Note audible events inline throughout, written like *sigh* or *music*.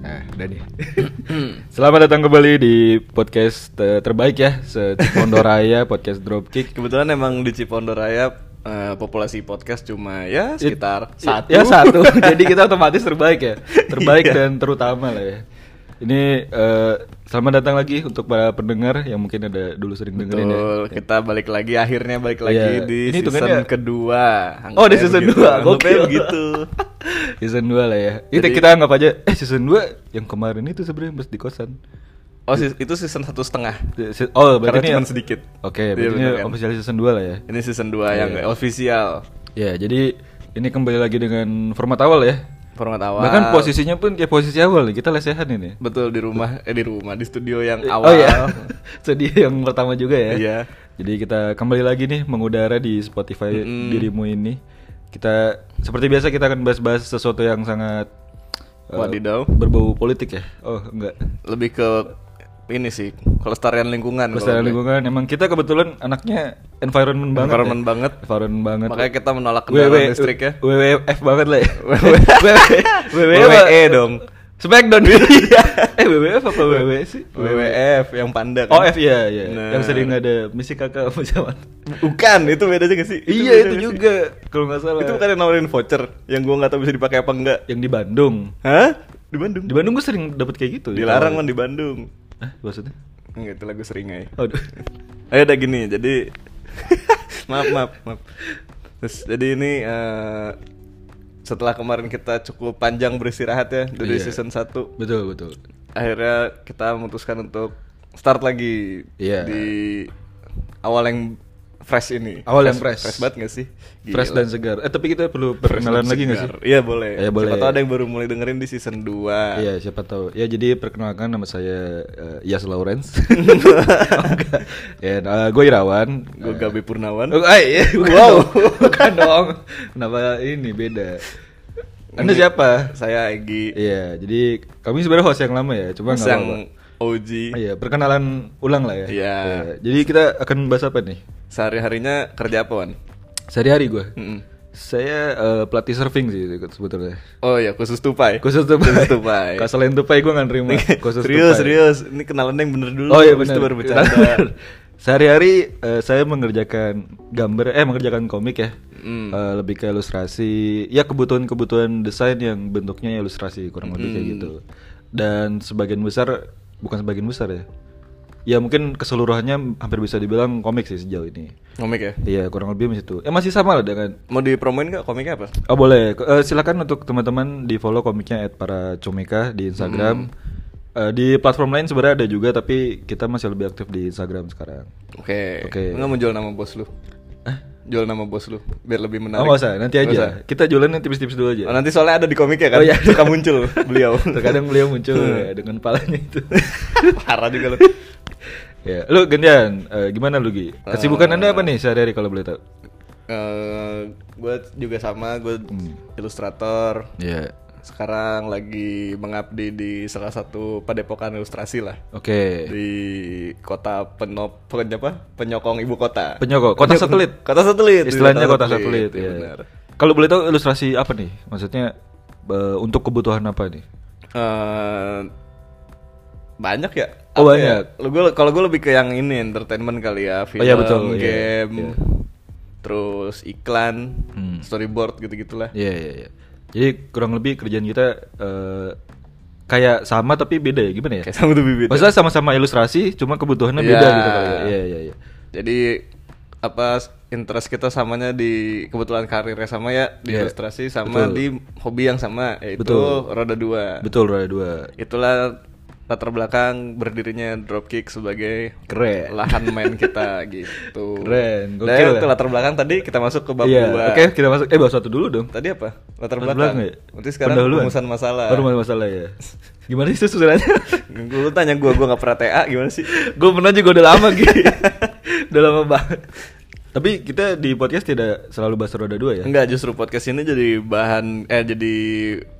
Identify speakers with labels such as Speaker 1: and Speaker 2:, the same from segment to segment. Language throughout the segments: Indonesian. Speaker 1: Nah, Udah deh. *laughs* Selamat datang kembali di podcast eh, terbaik ya, se Pondoraya Podcast Dropkick.
Speaker 2: Kebetulan emang di Cipondo Raya eh, populasi podcast cuma ya sekitar
Speaker 1: It-
Speaker 2: satu.
Speaker 1: Ya
Speaker 2: *laughs*
Speaker 1: satu. Jadi kita otomatis terbaik ya. Terbaik
Speaker 2: Iya.
Speaker 1: dan terutama lah ya. Ini eh, selamat datang lagi untuk para pendengar yang mungkin ada dulu sering dengerin ya.
Speaker 2: Betul, kita balik lagi akhirnya balik lagi
Speaker 1: Iya.
Speaker 2: di
Speaker 1: Ini
Speaker 2: season
Speaker 1: hitungannya-
Speaker 2: kedua. gitu.
Speaker 1: Oh, di season dua,
Speaker 2: Anggapnya
Speaker 1: gokil. *laughs*
Speaker 2: begitu.
Speaker 1: *laughs* Season 2 lah ya. Itu
Speaker 2: Jadi-
Speaker 1: kita anggap aja eh season 2 yang kemarin itu sebenarnya pas di kosan.
Speaker 2: Oh, si- itu season satu setengah.
Speaker 1: Se- se- Oh, berarti
Speaker 2: Karena
Speaker 1: ini-
Speaker 2: cuma sedikit.
Speaker 1: Oke,
Speaker 2: Iya,
Speaker 1: berarti ini
Speaker 2: bener kan?
Speaker 1: official season 2 lah ya.
Speaker 2: Ini season 2 yang
Speaker 1: Iya.
Speaker 2: official
Speaker 1: Ya, jadi ini kembali lagi dengan format awal ya.
Speaker 2: format awal.
Speaker 1: Bahkan posisinya pun kayak posisi awal nih. Kita lesehan ini.
Speaker 2: betul di rumah eh di rumah di studio yang
Speaker 1: Eh,
Speaker 2: awal.
Speaker 1: Oh iya. *laughs* Sedih yang pertama juga ya.
Speaker 2: Iya.
Speaker 1: Jadi kita kembali lagi nih mengudara di Spotify
Speaker 2: Mm-mm.
Speaker 1: dirimu ini. Kita seperti biasa kita akan bahas-bahas sesuatu yang sangat eh,
Speaker 2: Wadidaw.
Speaker 1: berbau politik ya. Oh, enggak.
Speaker 2: *laughs* Lebih ke ini sih kelestarian lingkungan.
Speaker 1: Kelestarian
Speaker 2: kalau gue.
Speaker 1: lingkungan. Emang kita kebetulan anaknya environment banget. ya.
Speaker 2: Environment banget.
Speaker 1: Environment banget.
Speaker 2: Makanya kita menolak kendaraan
Speaker 1: WW
Speaker 2: listrik ya.
Speaker 1: WWF banget lah
Speaker 2: *laughs*
Speaker 1: ya. *laughs*
Speaker 2: WWE
Speaker 1: apa?
Speaker 2: dong.
Speaker 1: Smackdown. E *laughs*
Speaker 2: *laughs*
Speaker 1: Iya. eh
Speaker 2: E
Speaker 1: WWF apa WWE sih? E.
Speaker 2: WWF yang panda E. kan?
Speaker 1: Oh F ya, ya.
Speaker 2: Nah.
Speaker 1: Yang sering ada misi kakak apa zaman.
Speaker 2: Bukan, itu beda aja gak sih?
Speaker 1: Iya
Speaker 2: beda
Speaker 1: itu
Speaker 2: nggak sih?
Speaker 1: juga kalau nggak salah.
Speaker 2: Itu bukan yang nawarin voucher Yang gua gak tahu bisa dipakai apa enggak
Speaker 1: yang di Bandung.
Speaker 2: Hah? Di Bandung?
Speaker 1: Di Bandung gue sering dapat kayak gitu.
Speaker 2: Dilarang kan di Bandung
Speaker 1: Hah, maksudnya?
Speaker 2: Enggak, itu lagu sering aja
Speaker 1: Aduh.
Speaker 2: Ayo udah gini, jadi *laughs* Maaf, maaf, maaf Terus, jadi ini eh, Setelah kemarin kita cukup panjang beristirahat ya Dari
Speaker 1: Iya.
Speaker 2: season 1
Speaker 1: *laughs* Betul betul.
Speaker 2: Akhirnya kita memutuskan untuk Start lagi
Speaker 1: Iya.
Speaker 2: Di awal yang fresh ini
Speaker 1: Awal yang fresh.
Speaker 2: Fresh banget gak sih?
Speaker 1: Fresh
Speaker 2: Gila.
Speaker 1: dan segar. Eh tapi kita perlu perkenalan lagi nggak sih?
Speaker 2: Iya boleh.
Speaker 1: Iya, boleh.
Speaker 2: Siapa tahu ada yang baru mulai dengerin di season 2.
Speaker 1: Iya siapa tahu. Ya jadi perkenalkan nama saya eh, Yas
Speaker 2: *laughs*
Speaker 1: Lawrence. Oh, enggak. ya, gue Irawan.
Speaker 2: Gue
Speaker 1: Eh,
Speaker 2: Gabi Purnawan.
Speaker 1: Oh, ay, bukan
Speaker 2: Wow.
Speaker 1: dong. *laughs* bukan dong. Kenapa ini beda? Anda
Speaker 2: Ini
Speaker 1: siapa?
Speaker 2: Saya Egi.
Speaker 1: Iya, jadi kami sebenarnya host yang lama ya, cuma
Speaker 2: Mas
Speaker 1: nggak apa-apa.
Speaker 2: yang OG.
Speaker 1: Iya, perkenalan ulang lah ya.
Speaker 2: Iya.
Speaker 1: Jadi kita akan bahas apa nih?
Speaker 2: Sehari-harinya kerja apa, Wan?
Speaker 1: Sehari-hari gue.
Speaker 2: Mm-mm.
Speaker 1: Saya eh, pelatih surfing sih sebetulnya.
Speaker 2: Oh ya khusus tupai.
Speaker 1: Khusus tupai.
Speaker 2: Khusus
Speaker 1: *laughs*
Speaker 2: tupai.
Speaker 1: Kalau selain tupai gue nggak
Speaker 2: *laughs*
Speaker 1: nerima. Khusus tupai.
Speaker 2: serius, serius. Ini kenalan yang bener dulu.
Speaker 1: Oh iya *laughs*
Speaker 2: habis
Speaker 1: benar.
Speaker 2: itu baru bercanda.
Speaker 1: Sehari-hari eh, saya mengerjakan gambar, eh mengerjakan komik ya.
Speaker 2: Mm.
Speaker 1: Eh, lebih ke ilustrasi, ya kebutuhan-kebutuhan desain yang bentuknya ilustrasi kurang lebih kayak gitu.
Speaker 2: Hmm.
Speaker 1: Dan sebagian besar, bukan sebagian besar ya. Ya mungkin keseluruhannya hampir bisa dibilang komik sih sejauh ini.
Speaker 2: Komik ya.
Speaker 1: Iya kurang lebih di situ. Eh masih sama lah dengan
Speaker 2: Mau dipromoin nggak komiknya apa?
Speaker 1: Oh boleh, K- eh, silakan untuk teman-teman di follow komiknya at para comika di Instagram.
Speaker 2: Hmm.
Speaker 1: Eh, di platform lain sebenarnya ada juga, tapi kita masih lebih aktif di Instagram sekarang.
Speaker 2: Oke.
Speaker 1: Oke.
Speaker 2: Enggak mau jual nama bos lu. Jual nama bos lu biar lebih Eh, menarik.
Speaker 1: Oh nggak usah, nanti
Speaker 2: Nggak
Speaker 1: aja. Kita jualan yang tipis-tipis dulu
Speaker 2: usah.
Speaker 1: aja.
Speaker 2: Oh, nanti soalnya ada di komiknya kan.
Speaker 1: Iya. Oh, iya.
Speaker 2: *laughs* Suka muncul beliau.
Speaker 1: *laughs*
Speaker 2: Hmm.
Speaker 1: Terkadang beliau muncul ya, dengan palanya itu.
Speaker 2: *laughs* Parah juga lu.
Speaker 1: ya, lu gantian. Eh, gimana lu Gi? Kesibukan anda apa nih sehari-hari kalau boleh tahu?
Speaker 2: gue Eh, juga sama, gue
Speaker 1: Hmm.
Speaker 2: ilustrator.
Speaker 1: Iya.
Speaker 2: Sekarang lagi mengabdi di salah satu padepokan ilustrasi lah
Speaker 1: Oke.
Speaker 2: di kota penop pen- apa penyokong ibu kota
Speaker 1: Penyokong, kota
Speaker 2: Penyokong-
Speaker 1: satelit.
Speaker 2: kota satelit
Speaker 1: Istilahnya
Speaker 2: Iya,
Speaker 1: kota satelit.
Speaker 2: iya
Speaker 1: ya.
Speaker 2: benar.
Speaker 1: Kalau boleh tahu ilustrasi apa nih? Maksudnya eh, untuk kebutuhan apa nih?
Speaker 2: Eh, banyak ya
Speaker 1: Oh,
Speaker 2: Apa
Speaker 1: banyak.
Speaker 2: ya? Lu gua- kalau gue lebih ke yang ini entertainment kali ya
Speaker 1: Oh,
Speaker 2: film
Speaker 1: iya, betul. Iya,
Speaker 2: game
Speaker 1: iya.
Speaker 2: terus iklan
Speaker 1: Hmm.
Speaker 2: storyboard gitu gitulah
Speaker 1: Iya iya iya. Jadi kurang lebih kerjaan kita eh, kayak sama tapi beda ya gimana ya?
Speaker 2: kayak sama tuh bibit
Speaker 1: Maksudnya sama-sama ilustrasi, cuma kebutuhannya
Speaker 2: Iya.
Speaker 1: beda gitu kali. ya. Iya iya iya.
Speaker 2: Jadi apa interest kita samanya di kebetulan karirnya sama ya di
Speaker 1: Iya,
Speaker 2: ilustrasi
Speaker 1: betul.
Speaker 2: sama di hobi yang sama yaitu
Speaker 1: Betul.
Speaker 2: roda dua.
Speaker 1: Betul roda dua.
Speaker 2: Itulah latar belakang berdirinya Dropkick sebagai
Speaker 1: Keren.
Speaker 2: lahan main kita gitu.
Speaker 1: Keren,
Speaker 2: Dan
Speaker 1: gokil ya.
Speaker 2: itu latar belakang tadi kita masuk ke bab
Speaker 1: Iya.
Speaker 2: dua.
Speaker 1: Oke, kita masuk eh bahas satu dulu dong.
Speaker 2: Tadi apa? Latar
Speaker 1: Latar
Speaker 2: belakang.
Speaker 1: ya?
Speaker 2: Nanti sekarang
Speaker 1: Pendahuluan.
Speaker 2: perumusan masalah.
Speaker 1: Perumusan masalah ya. Gimana sih susunannya? *laughs*
Speaker 2: Gue tanya gua gua nggak pernah TA gimana sih?
Speaker 1: gue pernah juga udah lama gitu. *laughs* udah lama banget. Tapi kita di podcast tidak selalu bahas roda dua ya.
Speaker 2: Enggak, justru podcast ini jadi bahan eh jadi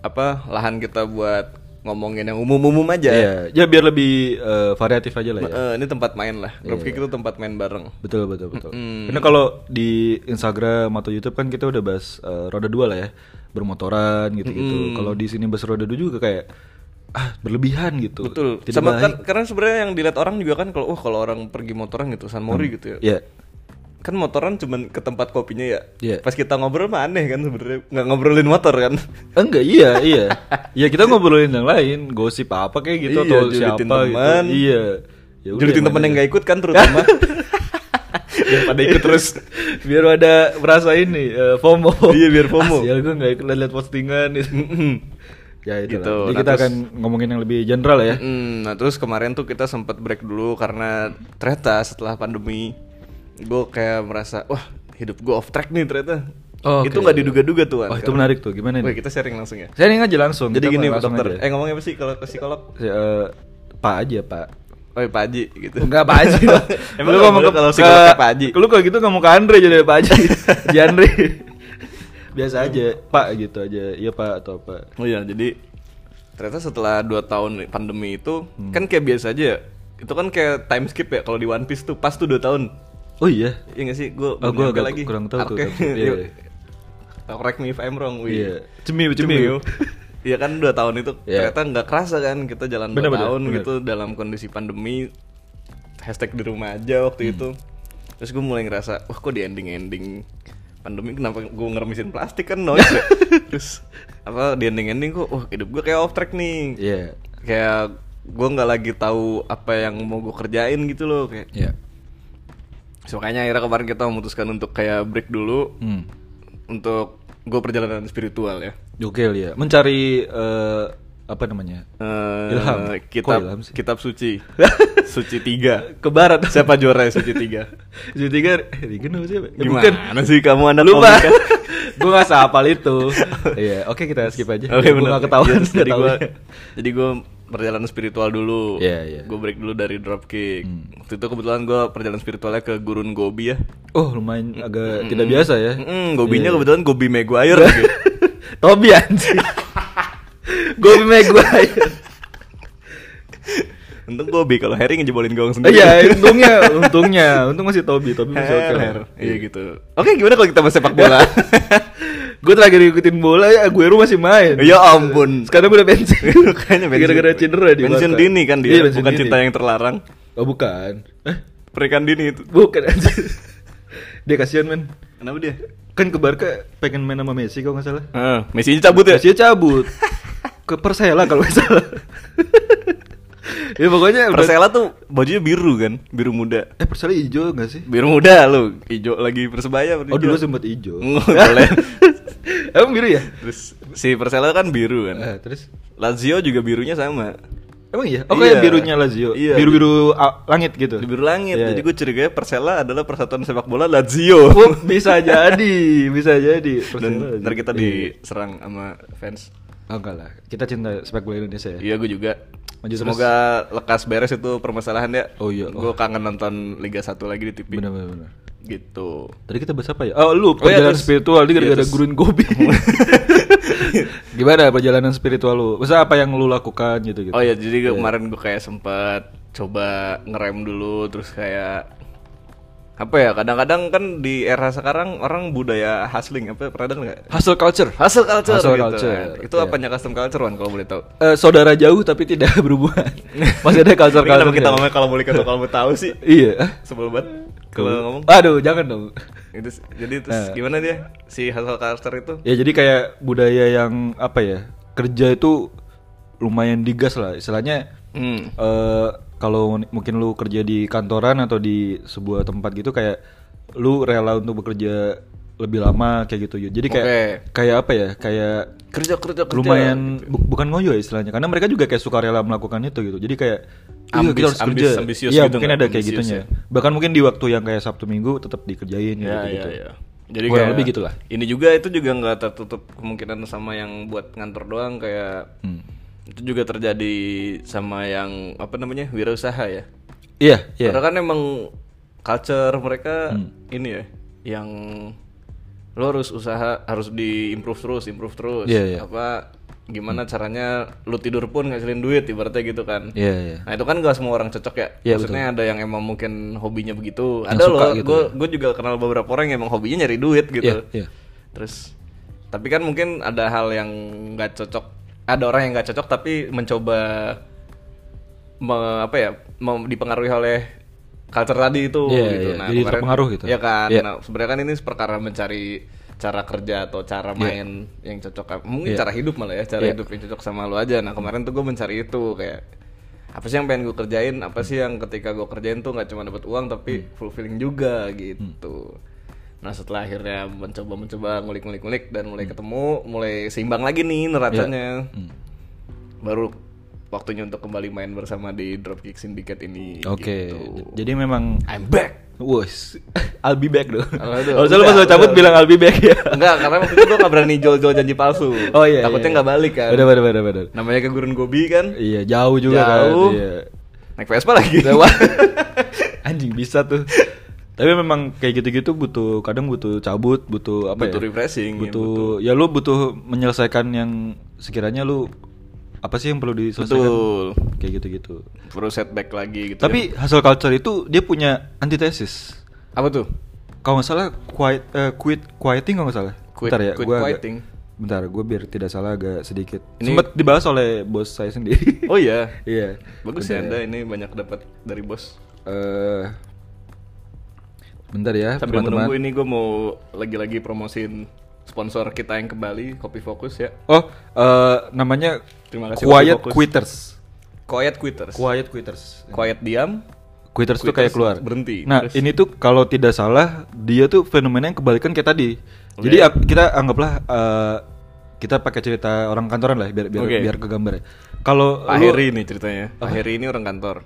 Speaker 2: apa? Lahan kita buat ngomongin yang umum-umum aja.
Speaker 1: Iya, ya biar lebih eh, variatif aja lah ya.
Speaker 2: Eh, ini tempat main lah. Dropkick
Speaker 1: Iya.
Speaker 2: itu tempat main bareng.
Speaker 1: Betul betul betul. Karena kalau di Instagram atau YouTube kan kita udah bahas eh, roda dua lah ya, bermotoran gitu-gitu. Kalau di sini bahas roda dua juga kayak ah berlebihan gitu.
Speaker 2: Betul.
Speaker 1: Tidak
Speaker 2: Sama kan
Speaker 1: baik.
Speaker 2: karena sebenarnya yang dilihat orang juga kan kalau wah kalau orang pergi motoran gitu San Mori gitu ya.
Speaker 1: Iya.
Speaker 2: Kan motoran cuman ke tempat kopinya ya.
Speaker 1: Iya.
Speaker 2: Pas kita ngobrol mah aneh kan sebenarnya nggak ngobrolin motor kan.
Speaker 1: Enggak, iya, iya. ya kita ngobrolin yang lain, gosip apa kayak gitu
Speaker 2: Iya,
Speaker 1: atau
Speaker 2: julitin
Speaker 1: siapa
Speaker 2: teman.
Speaker 1: gitu. Iya. Ya udah,
Speaker 2: Julitin
Speaker 1: yang
Speaker 2: temen
Speaker 1: ada.
Speaker 2: yang nggak ikut kan
Speaker 1: *laughs*
Speaker 2: terutama. yang pada ikut terus.
Speaker 1: biar ada merasa ini eh, FOMO.
Speaker 2: Iya, biar FOMO.
Speaker 1: Ya gue nggak ikut lihat postingan
Speaker 2: *laughs*
Speaker 1: gitu. ya itu.
Speaker 2: Gitu,
Speaker 1: Jadi
Speaker 2: nah,
Speaker 1: kita
Speaker 2: terus-
Speaker 1: akan ngomongin yang lebih general ya.
Speaker 2: Mm, nah terus kemarin tuh kita sempat break dulu karena ternyata setelah pandemi gue kayak merasa wah hidup gue off track nih ternyata.
Speaker 1: Oh,
Speaker 2: itu
Speaker 1: oke.
Speaker 2: nggak diduga-duga tuh. Wan.
Speaker 1: Wah, itu menarik tuh. Gimana
Speaker 2: Wah
Speaker 1: nih?
Speaker 2: kita sharing langsung ya.
Speaker 1: Saya nih aja langsung.
Speaker 2: kan? Jadi
Speaker 1: Kita
Speaker 2: gini Pak
Speaker 1: langsung
Speaker 2: dokter,
Speaker 1: aja.
Speaker 2: eh ngomongnya apa sih kalau ke psikolog?
Speaker 1: Ya, eh, Pak aja, Pak.
Speaker 2: Oh Pak Haji gitu.
Speaker 1: Enggak Pak Haji. dong.
Speaker 2: *laughs* Emang
Speaker 1: Lu
Speaker 2: kalau
Speaker 1: ngomong
Speaker 2: kalau, kalau psikolog ke Pak Haji.
Speaker 1: Lu kalau gitu ngomong ke Andre jadi Pak
Speaker 2: *laughs*
Speaker 1: Haji. Di Andre. Biasa aja, Pak gitu aja. Iya Pak atau Pak.
Speaker 2: Oh iya, jadi ternyata setelah 2 tahun pandemi itu kan kayak biasa aja ya. Itu kan kayak time skip ya kalau di One Piece tuh pas tuh 2 tahun.
Speaker 1: Oh iya.
Speaker 2: Iya gak sih? Gue
Speaker 1: Oh, gua agak kurang tahu tuh time skip, iya, iya.
Speaker 2: Correct me if I'm wrong. wih.
Speaker 1: Iya. Cemil, cemil.
Speaker 2: Cemil. *laughs* Iya kan 2 tahun itu
Speaker 1: Iya.
Speaker 2: ternyata nggak kerasa kan kita jalan 2
Speaker 1: Bener, bener,
Speaker 2: tahun
Speaker 1: bener.
Speaker 2: gitu dalam kondisi pandemi hashtag di rumah aja
Speaker 1: Hmm.
Speaker 2: waktu itu. Terus gue mulai ngerasa, wah kok di ending-ending pandemi kenapa gue ngeremisin plastik kan noise
Speaker 1: *laughs*
Speaker 2: ya? Terus apa di ending-ending kok wah hidup gue kayak off track nih.
Speaker 1: Iya.
Speaker 2: Kayak gue nggak lagi tahu apa yang mau gue kerjain gitu loh kayak
Speaker 1: Iya.
Speaker 2: So, makanya akhirnya kemarin kita memutuskan untuk kayak break dulu
Speaker 1: Hmm.
Speaker 2: untuk gue perjalanan spiritual ya.
Speaker 1: Gokil ya. Mencari eh, apa namanya?
Speaker 2: Eh,
Speaker 1: Ilham.
Speaker 2: Kitab
Speaker 1: Kok ilham sih?
Speaker 2: kitab
Speaker 1: *laughs*
Speaker 2: suci. suci 3.
Speaker 1: Ke barat.
Speaker 2: Siapa juara ya suci
Speaker 1: *laughs*
Speaker 2: 3?
Speaker 1: Jadi tiga,
Speaker 2: eh,
Speaker 1: Rigen apa siapa? Ya,
Speaker 2: Gimana
Speaker 1: bukan.
Speaker 2: sih kamu anak
Speaker 1: Lupa. *laughs*
Speaker 2: komika?
Speaker 1: gue gak sehafal
Speaker 2: *laughs*
Speaker 1: itu. Iya, oke kita skip aja.
Speaker 2: Oke
Speaker 1: Gua
Speaker 2: benar.
Speaker 1: nggak ketahuan.
Speaker 2: Iya,
Speaker 1: nggak
Speaker 2: jadi gue
Speaker 1: tahunya.
Speaker 2: jadi gue perjalanan spiritual dulu.
Speaker 1: Iya, iya. Hmm.
Speaker 2: Gue break dulu dari dropkick. Waktu itu kebetulan gue perjalanan spiritualnya ke Gurun Gobi ya.
Speaker 1: Oh, lumayan agak tidak biasa ya.
Speaker 2: Mm, gobinya kebetulan Gobi Maguire
Speaker 1: *laughs*
Speaker 2: lagi.
Speaker 1: Tobi anjing.
Speaker 2: *laughs*
Speaker 1: Gobi Maguire.
Speaker 2: Untung Gobi kalau Harry ngejebolin gawang sendiri.
Speaker 1: Iya, untungnya, untungnya, untung masih Tobi, Tobi masih oke.
Speaker 2: Her, her. Iya gitu. Oke, gimana kalau kita bahas sepak
Speaker 1: *laughs*
Speaker 2: *laughs* bola?
Speaker 1: Gue terakhir ngikutin bola ya, Aguero masih main.
Speaker 2: ya ampun.
Speaker 1: Sekarang udah bensin.
Speaker 2: *laughs* Makanya bensin.
Speaker 1: Gara-gara cedera di
Speaker 2: Bensin
Speaker 1: Barca.
Speaker 2: dini kan dia,
Speaker 1: Iya, bensin
Speaker 2: bukan
Speaker 1: dini.
Speaker 2: cinta yang terlarang.
Speaker 1: Oh, bukan. Eh,
Speaker 2: Perikan dini itu.
Speaker 1: bukan anjing. *laughs* Dia kasihan, men.
Speaker 2: Kenapa dia?
Speaker 1: Kan ke Barca pengen main sama Messi kalau nggak salah.
Speaker 2: Heeh, Messi cabut ya?
Speaker 1: Messi cabut. ke Persela kalau nggak salah. ya pokoknya udah-
Speaker 2: Persela tuh Eh, bajunya biru kan, biru muda.
Speaker 1: Eh Persela hijau nggak sih?
Speaker 2: Biru muda lu, hijau lagi persebaya
Speaker 1: Oh dulu
Speaker 2: hijau. Oh,
Speaker 1: sempat
Speaker 2: *laughs*
Speaker 1: hijau.
Speaker 2: Boleh.
Speaker 1: *laughs* Emang biru ya?
Speaker 2: Terus si Persela kan biru
Speaker 1: Eh,
Speaker 2: kan.
Speaker 1: terus
Speaker 2: Lazio juga birunya sama.
Speaker 1: Emang iya? Oh kayak
Speaker 2: Iya.
Speaker 1: birunya Lazio.
Speaker 2: Iya.
Speaker 1: Biru-biru ah, langit gitu.
Speaker 2: Biru langit.
Speaker 1: Iya,
Speaker 2: Jadi
Speaker 1: *laughs* iya.
Speaker 2: gue curiga Persela adalah persatuan sepak bola Lazio.
Speaker 1: Oh, bisa jadi, bisa jadi. Persela
Speaker 2: Dan ntar
Speaker 1: Lazio.
Speaker 2: kita
Speaker 1: Iya.
Speaker 2: diserang sama fans.
Speaker 1: Oh enggak lah. Kita cinta sepak bola Indonesia ya.
Speaker 2: Iya gue juga.
Speaker 1: Maju terus.
Speaker 2: Semoga lekas beres itu permasalahan ya.
Speaker 1: Oh iya.
Speaker 2: Gue kangen nonton Liga 1 lagi di TV.
Speaker 1: Benar benar benar.
Speaker 2: Gitu.
Speaker 1: Tadi kita bahas apa ya? Oh, lu
Speaker 2: Oh, iya,
Speaker 1: perjalanan
Speaker 2: terus-
Speaker 1: spiritual ini
Speaker 2: iya,
Speaker 1: gara-gara
Speaker 2: terus.
Speaker 1: gurun gobi. *laughs* Gimana perjalanan spiritual lu? Masa apa yang lu lakukan gitu gitu?
Speaker 2: Oh iya, jadi gua kemarin gue kayak sempet coba ngerem dulu terus kayak apa ya? Kadang-kadang kan di era sekarang orang budaya hustling apa ya, pernah dengar nggak?
Speaker 1: Hustle culture.
Speaker 2: Hustle culture
Speaker 1: Hustle
Speaker 2: gitu.
Speaker 1: culture,
Speaker 2: kan. Itu
Speaker 1: iya.
Speaker 2: apanya custom culture Wan kalau boleh tahu?
Speaker 1: Eh, saudara jauh tapi tidak *laughs* berhubungan. Masih ada culture
Speaker 2: Ini
Speaker 1: culture. ya?
Speaker 2: Kenapa kita ngomongnya kalau boleh tahu kalau boleh tahu sih?
Speaker 1: Iya. Hah?
Speaker 2: Sebelum banget kalau ngomong.
Speaker 1: Aduh, jangan dong.
Speaker 2: Itu s- jadi terus
Speaker 1: Eh.
Speaker 2: gimana dia si hustle culture itu?
Speaker 1: Ya jadi kayak budaya yang apa ya? Kerja itu lumayan digas lah. Istilahnya
Speaker 2: Hmm.
Speaker 1: eh kalau n- mungkin lu kerja di kantoran atau di sebuah tempat gitu kayak lu rela untuk bekerja lebih lama kayak gitu. Jadi kayak kayak apa ya? Kayak
Speaker 2: Kerja kerja gitu kerja.
Speaker 1: lumayan bu- bukan ngoyo ya istilahnya karena mereka juga kayak sukarela melakukan itu gitu jadi kayak iya,
Speaker 2: Ambis-
Speaker 1: kita harus
Speaker 2: ambis-
Speaker 1: kerja
Speaker 2: ambisius
Speaker 1: Iya,
Speaker 2: gitu
Speaker 1: mungkin
Speaker 2: nggak?
Speaker 1: ada kayak
Speaker 2: Ambisius
Speaker 1: gitunya bahkan mungkin di waktu yang kayak sabtu minggu tetap dikerjain ya,
Speaker 2: Ya,
Speaker 1: gitu,
Speaker 2: ya, ya. Jadi
Speaker 1: Kurang
Speaker 2: kayak
Speaker 1: lebih gitu gitulah.
Speaker 2: Ini juga itu juga nggak tertutup kemungkinan sama yang buat ngantor doang kayak
Speaker 1: Hmm.
Speaker 2: itu juga terjadi sama yang apa namanya wirausaha ya.
Speaker 1: iya iya Hmm.
Speaker 2: Karena kan emang culture mereka ini ya yang lo harus usaha harus diimprove terus, improve terus.
Speaker 1: Iya, iya.
Speaker 2: Apa gimana caranya lu tidur pun ngasilin duit ibaratnya gitu kan.
Speaker 1: iya iya
Speaker 2: Nah itu kan gak semua orang cocok ya.
Speaker 1: Iya,
Speaker 2: Maksudnya ada yang emang mungkin hobinya begitu.
Speaker 1: Yang
Speaker 2: ada
Speaker 1: suka
Speaker 2: loh.
Speaker 1: gitu
Speaker 2: Gue juga kenal beberapa orang yang emang hobinya nyari duit gitu.
Speaker 1: iya
Speaker 2: Terus tapi kan mungkin ada hal yang nggak cocok. ada orang yang nggak cocok tapi mencoba me- apa ya mem- dipengaruhi oleh culture tadi itu
Speaker 1: Iya,
Speaker 2: gitu.
Speaker 1: iya, jadi terpengaruh gitu.
Speaker 2: Ya kan.
Speaker 1: Iya.
Speaker 2: Nah, sebenarnya kan ini perkara mencari cara kerja atau cara main yang cocok mungkin
Speaker 1: Iya.
Speaker 2: cara hidup malah ya cara
Speaker 1: Iya.
Speaker 2: hidup yang cocok sama lu aja nah kemarin tuh gue mencari itu kayak apa sih yang pengen gue kerjain apa sih yang ketika gue kerjain tuh nggak cuma dapat uang
Speaker 1: Hmm.
Speaker 2: tapi fulfilling juga gitu nah setelah akhirnya mencoba mencoba ngulik ngulik ngulik dan mulai ketemu mulai seimbang lagi nih neracanya
Speaker 1: Hmm.
Speaker 2: baru waktunya untuk kembali main bersama di Dropkick Syndicate ini
Speaker 1: Oke.
Speaker 2: gitu.
Speaker 1: Jadi memang
Speaker 2: I'm back
Speaker 1: Wuss, I'll be back dong.
Speaker 2: Aduh,
Speaker 1: Kalau selalu pas
Speaker 2: udah,
Speaker 1: lo cabut
Speaker 2: udah,
Speaker 1: bilang I'll be back ya.
Speaker 2: enggak karena waktu itu gue nggak berani jual-jual janji palsu
Speaker 1: Oh iya.
Speaker 2: takutnya
Speaker 1: iya.
Speaker 2: nggak balik kan
Speaker 1: Benar benar benar benar.
Speaker 2: namanya ke Gurun Gobi kan
Speaker 1: Iya, jauh juga
Speaker 2: Jauh.
Speaker 1: kan. Iya.
Speaker 2: naik Vespa lagi *laughs*
Speaker 1: Anjing bisa tuh. Tapi memang kayak gitu-gitu butuh kadang butuh cabut, butuh apa
Speaker 2: butuh
Speaker 1: ya?
Speaker 2: refreshing ya,
Speaker 1: butuh ya lu butuh menyelesaikan yang sekiranya lu apa sih yang perlu diselesaikan
Speaker 2: betul
Speaker 1: kayak gitu-gitu.
Speaker 2: perlu setback lagi gitu
Speaker 1: Tapi hasil culture itu dia punya antitesis.
Speaker 2: ya. apa tuh
Speaker 1: Kalau nggak salah quiet eh, quit quieting kalau nggak salah.
Speaker 2: Quit-
Speaker 1: bentar ya,
Speaker 2: quit
Speaker 1: gua agak-
Speaker 2: quieting.
Speaker 1: bentar, gue biar tidak salah agak sedikit.
Speaker 2: Ini-
Speaker 1: Sempat dibahas oleh bos saya sendiri.
Speaker 2: oh iya
Speaker 1: *laughs* Iya.
Speaker 2: bagus ya anda ini banyak dapat dari bos
Speaker 1: Eh, bentar ya,
Speaker 2: sambil menunggu
Speaker 1: teman-teman.
Speaker 2: ini gue mau lagi-lagi promosiin sponsor kita yang kembali Kopi Fokus ya
Speaker 1: Oh, eh, namanya
Speaker 2: Terima kasih,
Speaker 1: quiet
Speaker 2: Kopi Fokus.
Speaker 1: quitters.
Speaker 2: Quiet Quitters
Speaker 1: Quiet quitters.
Speaker 2: Quiet diam
Speaker 1: Quitters tuh
Speaker 2: Quitters
Speaker 1: kayak keluar.
Speaker 2: berhenti.
Speaker 1: Nah,
Speaker 2: Terus?
Speaker 1: ini tuh kalau tidak salah dia tuh fenomena yang kebalikan kayak tadi.
Speaker 2: Oke.
Speaker 1: Jadi ap- kita anggaplah eh, kita pakai cerita orang kantoran lah biar biar
Speaker 2: Oke.
Speaker 1: biar kegambar ya. Kalau lu-
Speaker 2: Pak
Speaker 1: Ah.
Speaker 2: Heri nih ceritanya Pak Heri ini orang kantor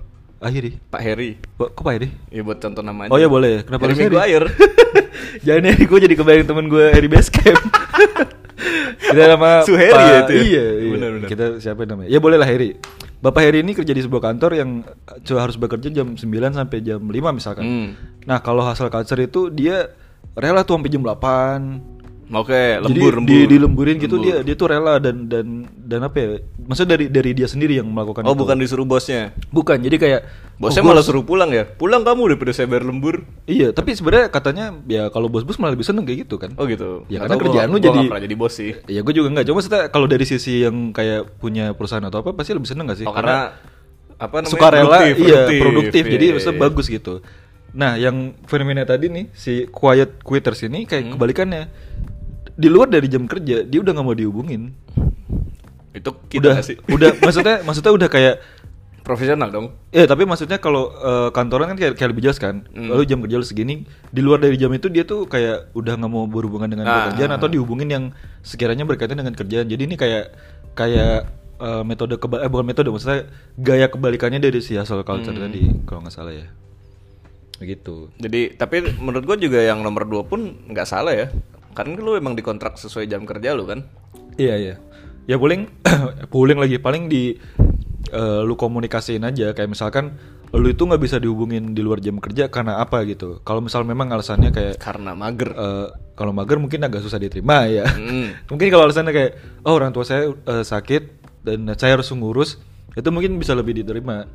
Speaker 1: Akhiri.
Speaker 2: Pak Heri
Speaker 1: Wah, Kok Pak Heri?
Speaker 2: ya buat contoh namanya
Speaker 1: Oh ya boleh. Kenapa
Speaker 2: Heri
Speaker 1: harus Heri? *laughs*
Speaker 2: Maguire
Speaker 1: Jangan Heri, gue jadi kebayang temen gue Heri
Speaker 2: *laughs*
Speaker 1: Basecamp. Kita nama
Speaker 2: Suheri
Speaker 1: Pak-
Speaker 2: ya itu ya?
Speaker 1: Iya, iya.
Speaker 2: Benar-benar.
Speaker 1: Kita siapa namanya? Ya boleh lah Heri. Bapak Heri ini kerja di sebuah kantor yang cuma harus bekerja jam 9 sampai jam 5 misalkan.
Speaker 2: Hmm.
Speaker 1: Nah, kalau hasil culture itu dia rela tuh sampai jam 8.
Speaker 2: Oke
Speaker 1: Jadi
Speaker 2: lembur
Speaker 1: di,
Speaker 2: lembur
Speaker 1: dilemburin gitu dia
Speaker 2: Lembur.
Speaker 1: dia tuh rela dan dan dan apa ya? Maksudnya dari dari dia sendiri yang melakukan
Speaker 2: Oh
Speaker 1: itu.
Speaker 2: bukan disuruh bosnya
Speaker 1: Bukan. Jadi kayak
Speaker 2: Bosnya
Speaker 1: oh, gua-
Speaker 2: malah suruh pulang ya Pulang kamu daripada saya bayar lembur
Speaker 1: Iya, tapi sebenarnya katanya ya kalau bos-bos malah lebih seneng kayak gitu kan.
Speaker 2: Oh gitu
Speaker 1: Ya,
Speaker 2: Nggak
Speaker 1: karena
Speaker 2: tahu,
Speaker 1: kerjaan
Speaker 2: gua-
Speaker 1: lu
Speaker 2: gua
Speaker 1: jadi-
Speaker 2: nggak pernah jadi bos sih
Speaker 1: Ya gue juga nggak, cuma maksudnya kalau dari sisi yang kayak punya perusahaan atau apa pasti lebih seneng gak sih?
Speaker 2: Oh karena Apa namanya
Speaker 1: suka rela,
Speaker 2: Produktif,
Speaker 1: iya produktif,
Speaker 2: iya,
Speaker 1: jadi
Speaker 2: iya,
Speaker 1: maksudnya
Speaker 2: iya.
Speaker 1: bagus gitu. Nah yang fenomena tadi nih si quiet quitters ini
Speaker 2: Hmm.
Speaker 1: kayak kebalikannya di luar dari jam kerja dia udah nggak mau dihubungin.
Speaker 2: Itu kita
Speaker 1: udah,
Speaker 2: nggak sih
Speaker 1: udah maksudnya maksudnya udah kayak
Speaker 2: Profesional dong
Speaker 1: Ya tapi maksudnya kalau eh, kantoran kan kayak, kayak lebih jelas kan.
Speaker 2: Hmm.
Speaker 1: Lalu jam kerja lu segini, di luar dari jam itu dia tuh kayak udah nggak mau berhubungan dengan
Speaker 2: Ah.
Speaker 1: pekerjaan atau dihubungin yang sekiranya berkaitan dengan kerjaan. Jadi ini kayak kayak eh, metode keba eh bukan metode maksudnya gaya kebalikannya dari si hustle culture
Speaker 2: Hmm.
Speaker 1: tadi kalau nggak salah ya. Gitu. Begitu.
Speaker 2: Jadi tapi menurut gua juga yang nomor 2 pun nggak salah ya. Karena lu emang dikontrak sesuai jam kerja lu kan.
Speaker 1: Iya iya. Ya paling *coughs* paling lagi paling di eh, lu komunikasiin aja kayak misalkan lu itu nggak bisa dihubungin di luar jam kerja karena apa gitu. Kalau misal memang alasannya kayak
Speaker 2: Karena mager.
Speaker 1: Eh, kalau mager mungkin agak susah diterima ya.
Speaker 2: Mm.
Speaker 1: *laughs* mungkin kalau alasannya kayak oh orang tua saya eh, sakit dan saya harus ngurus itu mungkin bisa lebih diterima.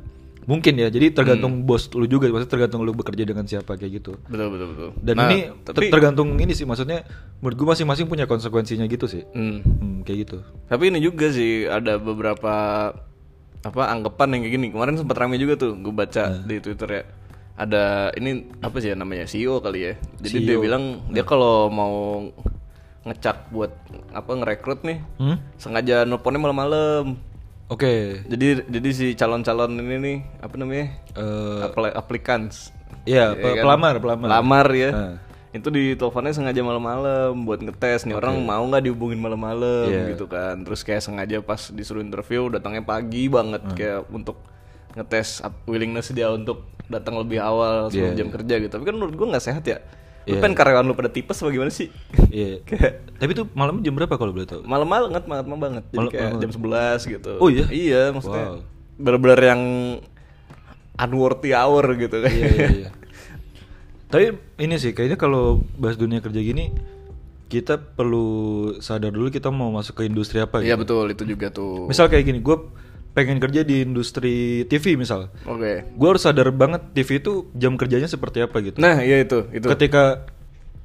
Speaker 1: Mungkin ya. Jadi
Speaker 2: Hmm.
Speaker 1: tergantung bos lu juga, maksudnya tergantung lu bekerja dengan siapa kayak gitu.
Speaker 2: Betul betul betul.
Speaker 1: Dan
Speaker 2: Nah,
Speaker 1: ini ter-
Speaker 2: tapi
Speaker 1: tergantung ini sih maksudnya menurut gua masing-masing punya konsekuensinya gitu sih.
Speaker 2: Hmm.
Speaker 1: Hmm, kayak gitu.
Speaker 2: Tapi ini juga sih ada beberapa apa anggapan yang kayak gini. Kemarin sempat rame juga tuh gue baca di Twitter ya. Ada ini apa sih ya namanya CEO kali ya. Jadi dia bilang dia kalau mau ngecak buat apa ngerekrut nih
Speaker 1: Hmm?
Speaker 2: sengaja nelponnya malam-malam.
Speaker 1: Oke.
Speaker 2: Jadi jadi si calon-calon ini nih apa namanya?
Speaker 1: Eh,
Speaker 2: Apli- aplikans
Speaker 1: Iya, pe-
Speaker 2: kan?
Speaker 1: pelamar, pelamar.
Speaker 2: pelamar ya
Speaker 1: Heeh.
Speaker 2: itu di teleponnya sengaja malam-malam buat ngetes nih orang mau nggak dihubungin malam-malam
Speaker 1: Iya.
Speaker 2: gitu kan terus kayak sengaja pas disuruh interview datangnya pagi banget kayak untuk ngetes up- willingness dia untuk datang lebih awal sebelum
Speaker 1: Iya.
Speaker 2: jam kerja gitu tapi kan menurut gua nggak sehat ya lu pengen karyawan lu pada tipes apa gimana sih *laughs*
Speaker 1: Iya.
Speaker 2: kayak
Speaker 1: Tapi tuh malam jam berapa kalau boleh tahu?
Speaker 2: malam banget malam banget jadi
Speaker 1: Malam-
Speaker 2: kayak
Speaker 1: malam
Speaker 2: jam 11 gitu
Speaker 1: Oh iya?
Speaker 2: iya maksudnya
Speaker 1: Wow.
Speaker 2: bener-bener yang unworthy hour gitu kan
Speaker 1: Iya, iya, iya. *laughs* Tapi ini sih kayaknya kalau bahas dunia kerja gini kita perlu sadar dulu kita mau masuk ke industri apa
Speaker 2: *laughs* Iya
Speaker 1: gitu.
Speaker 2: betul itu juga tuh.
Speaker 1: Misal kayak gini, gue pengen kerja di industri TV misal.
Speaker 2: Oke.
Speaker 1: Gue harus sadar banget TV itu jam kerjanya seperti apa gitu.
Speaker 2: Nah, iya itu, itu.
Speaker 1: Ketika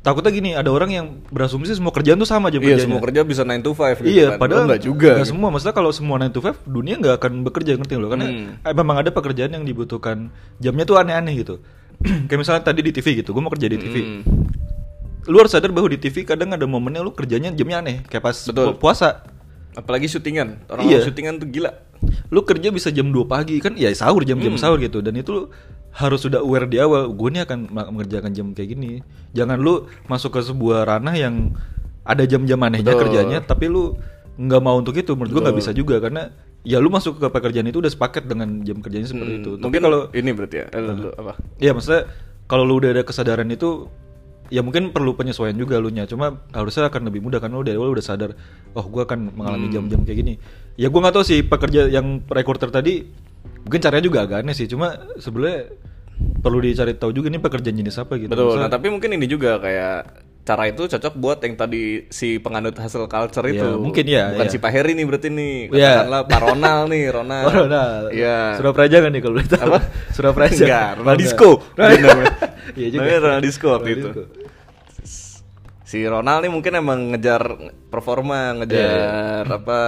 Speaker 1: takutnya gini ada orang yang berasumsi semua kerjaan tuh sama jam
Speaker 2: Iya,
Speaker 1: kerjanya.
Speaker 2: semua kerja bisa 9 to 5 gitu
Speaker 1: iya,
Speaker 2: kan.
Speaker 1: padahal
Speaker 2: Lo nggak juga.
Speaker 1: nggak
Speaker 2: gitu.
Speaker 1: semua. Maksudnya kalau semua 9 to 5 dunia nggak akan bekerja ngerti loh karena
Speaker 2: Hmm.
Speaker 1: eh, memang ada pekerjaan yang dibutuhkan jamnya tuh aneh-aneh gitu. *clears throat* Kayak misalnya tadi di TV gitu, gue mau kerja di TV.
Speaker 2: Hmm.
Speaker 1: Lu harus sadar bahwa di TV kadang ada momennya lu kerjanya jamnya aneh, kayak pas
Speaker 2: Betul.
Speaker 1: pu- puasa.
Speaker 2: Apalagi syutingan. Orang
Speaker 1: Iya.
Speaker 2: syutingan tuh gila.
Speaker 1: Lu kerja bisa jam 2 pagi kan ya sahur jam-jam
Speaker 2: Hmm.
Speaker 1: sahur gitu dan itu lu harus sudah aware di awal gue nih akan ma- mengerjakan jam kayak gini. Jangan lu masuk ke sebuah ranah yang ada jam-jam anehnya
Speaker 2: Betul.
Speaker 1: kerjanya tapi lu nggak mau untuk itu menurut gue nggak bisa juga karena ya lu masuk ke pekerjaan itu udah sepaket dengan jam kerjanya seperti
Speaker 2: Hmm,
Speaker 1: itu. Tapi
Speaker 2: Mungkin
Speaker 1: kalau
Speaker 2: ini berarti ya. Eh, lu- lu apa?
Speaker 1: ya maksudnya kalau lu udah ada kesadaran itu ya mungkin perlu penyesuaian juga lu nya cuma harusnya akan lebih mudah karena lu dari awal udah sadar oh gua akan
Speaker 2: Hmm.
Speaker 1: mengalami jam-jam kayak gini ya gua nggak tahu sih pekerja yang recorder tadi mungkin caranya juga agak aneh sih cuma sebenarnya perlu dicari tahu juga nih pekerjaan jenis apa gitu
Speaker 2: Betul. Nah,
Speaker 1: Maksudnya-
Speaker 2: tapi mungkin ini juga kayak cara itu cocok buat yang tadi si penganut hasil culture
Speaker 1: Ya,
Speaker 2: itu.
Speaker 1: mungkin ya,
Speaker 2: Bukan
Speaker 1: ya.
Speaker 2: si Pak Heri nih berarti nih.
Speaker 1: Iya.
Speaker 2: Katakanlah Pak Ronal
Speaker 1: *laughs*
Speaker 2: nih, Ronal.
Speaker 1: Oh, Ronald.
Speaker 2: Iya.
Speaker 1: Surapraja kan nih kalau boleh tahu.
Speaker 2: Apa?
Speaker 1: Surapraja.
Speaker 2: Enggak,
Speaker 1: Oh, enggak.
Speaker 2: Ronald Disco.
Speaker 1: Ronald.
Speaker 2: Dia namanya.
Speaker 1: Iya juga.
Speaker 2: Namanya Ronald Disco waktu
Speaker 1: Ronald
Speaker 2: itu.
Speaker 1: Disco.
Speaker 2: Si Ronal nih mungkin emang ngejar performa,
Speaker 1: Iya,
Speaker 2: ngejar apa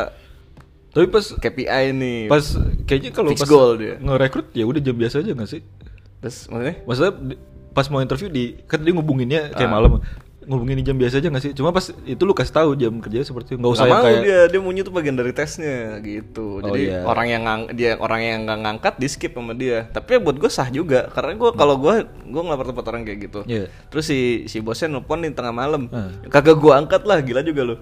Speaker 1: Tapi pas
Speaker 2: KPI nih.
Speaker 1: pas kayaknya kalau
Speaker 2: Fix
Speaker 1: pas
Speaker 2: goal dia.
Speaker 1: ngerekrut ya udah jam biasa aja nggak sih?
Speaker 2: Terus maksudnya?
Speaker 1: Maksudnya di- pas mau interview di kan tadi ngubunginnya
Speaker 2: Ah.
Speaker 1: kayak malam ngubungin di jam biasa aja gak sih? Cuma pas itu lu kasih tahu jam kerja seperti itu. nggak usah
Speaker 2: Nggak
Speaker 1: yang
Speaker 2: mau
Speaker 1: kayak
Speaker 2: dia dia maunya tuh bagian dari tesnya gitu
Speaker 1: Oh,
Speaker 2: jadi
Speaker 1: iya.
Speaker 2: orang yang ngang- dia orang yang nggak ngangkat di skip sama dia tapi ya buat gue sah juga karena gue kalau gue gue nggak pernah tempat orang kayak gitu
Speaker 1: Iya.
Speaker 2: terus si si bosnya nelpon di tengah malam
Speaker 1: Ah.
Speaker 2: kagak gue angkat lah gila juga lu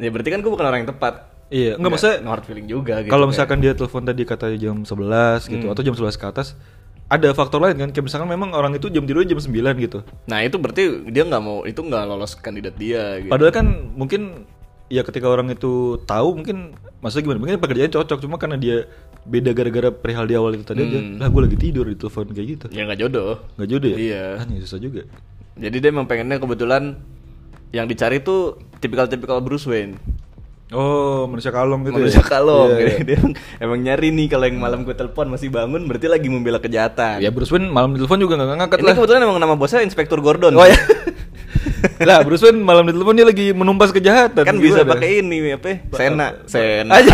Speaker 2: ya berarti kan gue bukan orang yang tepat
Speaker 1: Iya, enggak maksudnya
Speaker 2: no hard feeling juga gitu
Speaker 1: kalau
Speaker 2: kayak. Hmm.
Speaker 1: misalkan dia telepon tadi katanya jam 11 gitu atau jam 11 ke atas ada faktor lain kan kayak misalkan memang orang itu jam tidurnya jam 9 gitu.
Speaker 2: nah itu berarti dia nggak mau itu nggak lolos kandidat dia gitu
Speaker 1: Padahal kan mungkin ya ketika orang itu tahu mungkin maksudnya gimana? Mungkin pekerjaan cocok cuma karena dia beda gara-gara perihal di awal itu tadi aja.
Speaker 2: Hmm.
Speaker 1: Lah gue lagi tidur di telepon kayak gitu.
Speaker 2: ya nggak jodoh
Speaker 1: Gak jodoh ya?
Speaker 2: Iya.
Speaker 1: Anjing, susah juga.
Speaker 2: jadi dia emang pengennya kebetulan yang dicari tuh tipikal-tipikal Bruce Wayne
Speaker 1: Oh, manusia kalong gitu ya.
Speaker 2: manusia kalong
Speaker 1: Iya, iya.
Speaker 2: Jadi *laughs* dia emang- emang nyari nih kalau yang malam gue telepon masih bangun berarti lagi membela kejahatan
Speaker 1: Ya Bruce Wayne malam ditelepon juga gak ngangkat
Speaker 2: Nah. ini
Speaker 1: lah
Speaker 2: kebetulan emang nama bosnya Inspektur Gordon *laughs*
Speaker 1: Oh ya *laughs* Lah Bruce Wayne malam ditelepon dia lagi menumpas kejahatan
Speaker 2: kan bisa pakai ini apa ya? Sena Sena
Speaker 1: *laughs* Aja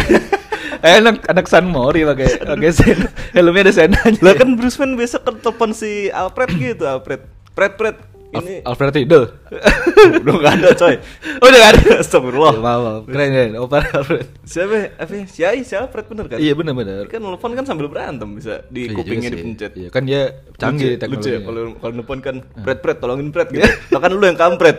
Speaker 1: Enak anak San Mori pakai pakai Sena Helmnya ada Senanya
Speaker 2: lah kan Bruce Wayne biasa ke- telepon si Alfred gitu Alfred Fred Fred ini
Speaker 1: Al- Alfred Riddle
Speaker 2: *laughs* udah nggak ada coy
Speaker 1: Oh, Udah gak ada
Speaker 2: Astagfirullah
Speaker 1: Ya, maaf, maaf. Keren keren Opar Alfred
Speaker 2: siapa ya? apa ya? si Ai si Alfred bener kan
Speaker 1: Iya bener-bener
Speaker 2: kan nelfon kan sambil berantem bisa di
Speaker 1: Iya juga
Speaker 2: kupingnya
Speaker 1: sih.
Speaker 2: dipencet
Speaker 1: Iya kan dia canggih
Speaker 2: lucu, lucu ya
Speaker 1: teknologinya Ah.
Speaker 2: kalau kalau nelfon kan pret pret tolongin pret gitu lo kan lu yang
Speaker 1: *laughs*
Speaker 2: kampret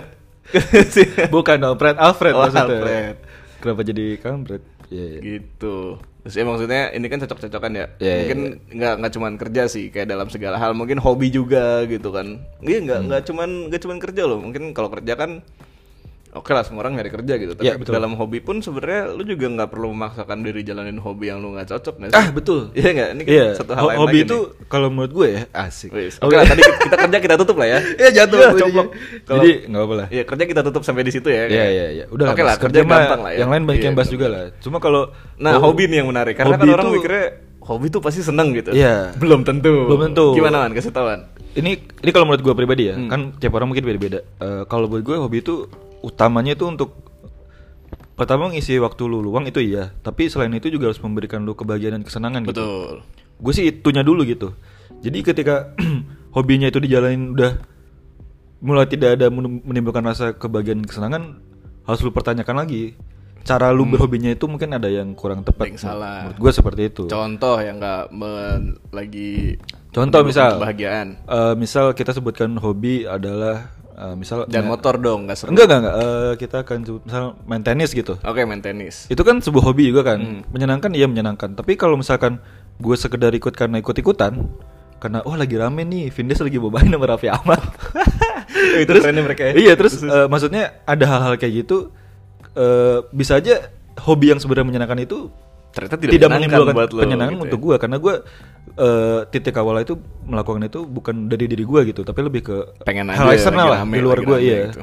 Speaker 1: Bukan Alfred Alfred
Speaker 2: Oh,
Speaker 1: maksudnya
Speaker 2: Alfred.
Speaker 1: Kenapa jadi kampret Iya iya.
Speaker 2: gitu terus ya maksudnya ini kan cocok-cocokan ya
Speaker 1: Iya, iya,
Speaker 2: mungkin nggak nggak cuman kerja sih kayak dalam segala hal mungkin hobi juga gitu kan iya nggak
Speaker 1: Hmm.
Speaker 2: nggak cuman nggak cuman kerja loh mungkin kalau kerja kan oke lah semua orang nyari kerja gitu tapi
Speaker 1: Iya, betul.
Speaker 2: dalam hobi pun sebenarnya lu juga nggak perlu memaksakan diri jalanin hobi yang lu nggak cocok nggak sih?
Speaker 1: Ah betul
Speaker 2: iya nggak ini kan
Speaker 1: Iya.
Speaker 2: satu hal
Speaker 1: Ho-
Speaker 2: lain
Speaker 1: Hobi
Speaker 2: lagi
Speaker 1: itu
Speaker 2: nih.
Speaker 1: kalau menurut gue ya asik
Speaker 2: Wis, Oke lah, tadi kita kerja kita tutup lah ya.
Speaker 1: *laughs* Iya jatuh.
Speaker 2: Iya,
Speaker 1: bunyinya.
Speaker 2: coplok. Kalau-
Speaker 1: Jadi nggak apa lah.
Speaker 2: Iya kerja kita tutup sampai di situ ya.
Speaker 1: Iya iya iya. Udah
Speaker 2: Oke lah
Speaker 1: Mas.
Speaker 2: kerja
Speaker 1: mah
Speaker 2: gampang lah ya.
Speaker 1: Yang lain banyak
Speaker 2: Iya,
Speaker 1: yang bahas
Speaker 2: betul.
Speaker 1: juga lah. Cuma kalau
Speaker 2: Nah
Speaker 1: kalau-
Speaker 2: hobi nih yang menarik karena
Speaker 1: hobi
Speaker 2: kan orang
Speaker 1: itu-
Speaker 2: mikirnya hobi tuh pasti seneng gitu.
Speaker 1: Iya.
Speaker 2: Belum tentu.
Speaker 1: Belum tentu. Gitu.
Speaker 2: Gimana man kasih tahuan?
Speaker 1: ini ini kalau menurut gue pribadi
Speaker 2: Hmm.
Speaker 1: ya kan tiap orang mungkin beda-beda. Eh, kalau buat gue hobi itu utamanya itu untuk pertama ngisi waktu lu luang itu iya. Tapi selain itu juga harus memberikan lu kebahagiaan dan kesenangan gitu.
Speaker 2: Betul.
Speaker 1: gue sih itunya dulu gitu jadi ketika *clears throat* hobinya itu dijalanin udah mulai tidak ada menem- menimbulkan rasa kebahagiaan dan kesenangan harus lu pertanyakan lagi cara lu berhobinya itu mungkin ada yang kurang tepat
Speaker 2: Hmm. Yang salah.
Speaker 1: menurut gue seperti itu
Speaker 2: Contoh yang nggak men- lagi.
Speaker 1: Contoh
Speaker 2: menimbulkan
Speaker 1: misal.
Speaker 2: Kebahagiaan.
Speaker 1: Eh, misal kita sebutkan hobi adalah eh, misal
Speaker 2: Dan motor dong nggak seru.
Speaker 1: enggak enggak, enggak. Eh, kita akan sebut misal main tenis gitu
Speaker 2: Oke main tenis.
Speaker 1: itu kan sebuah hobi juga
Speaker 2: Hmm.
Speaker 1: kan menyenangkan iya menyenangkan tapi kalau misalkan gue sekedar ikut karena ikut ikutan karena oh lagi rame nih Vindes lagi bobain sama Raffi Ahmad
Speaker 2: *laughs* itu trennya mereka ya.
Speaker 1: iya terus eh, maksudnya ada hal-hal kayak gitu eh, bisa aja hobi yang sebenarnya menyenangkan itu
Speaker 2: Ternyata
Speaker 1: tidak,
Speaker 2: Kan tidak,
Speaker 1: menimbulkan
Speaker 2: buat lo,
Speaker 1: penyenangan
Speaker 2: gitu ya.
Speaker 1: untuk gue karena gue titik awalnya itu melakukan itu bukan dari diri gue gitu tapi lebih ke
Speaker 2: Pengen
Speaker 1: hal
Speaker 2: aja,
Speaker 1: eksternal
Speaker 2: lagi
Speaker 1: lah
Speaker 2: rame,
Speaker 1: di luar
Speaker 2: lagi
Speaker 1: gue
Speaker 2: rame
Speaker 1: iya
Speaker 2: gitu.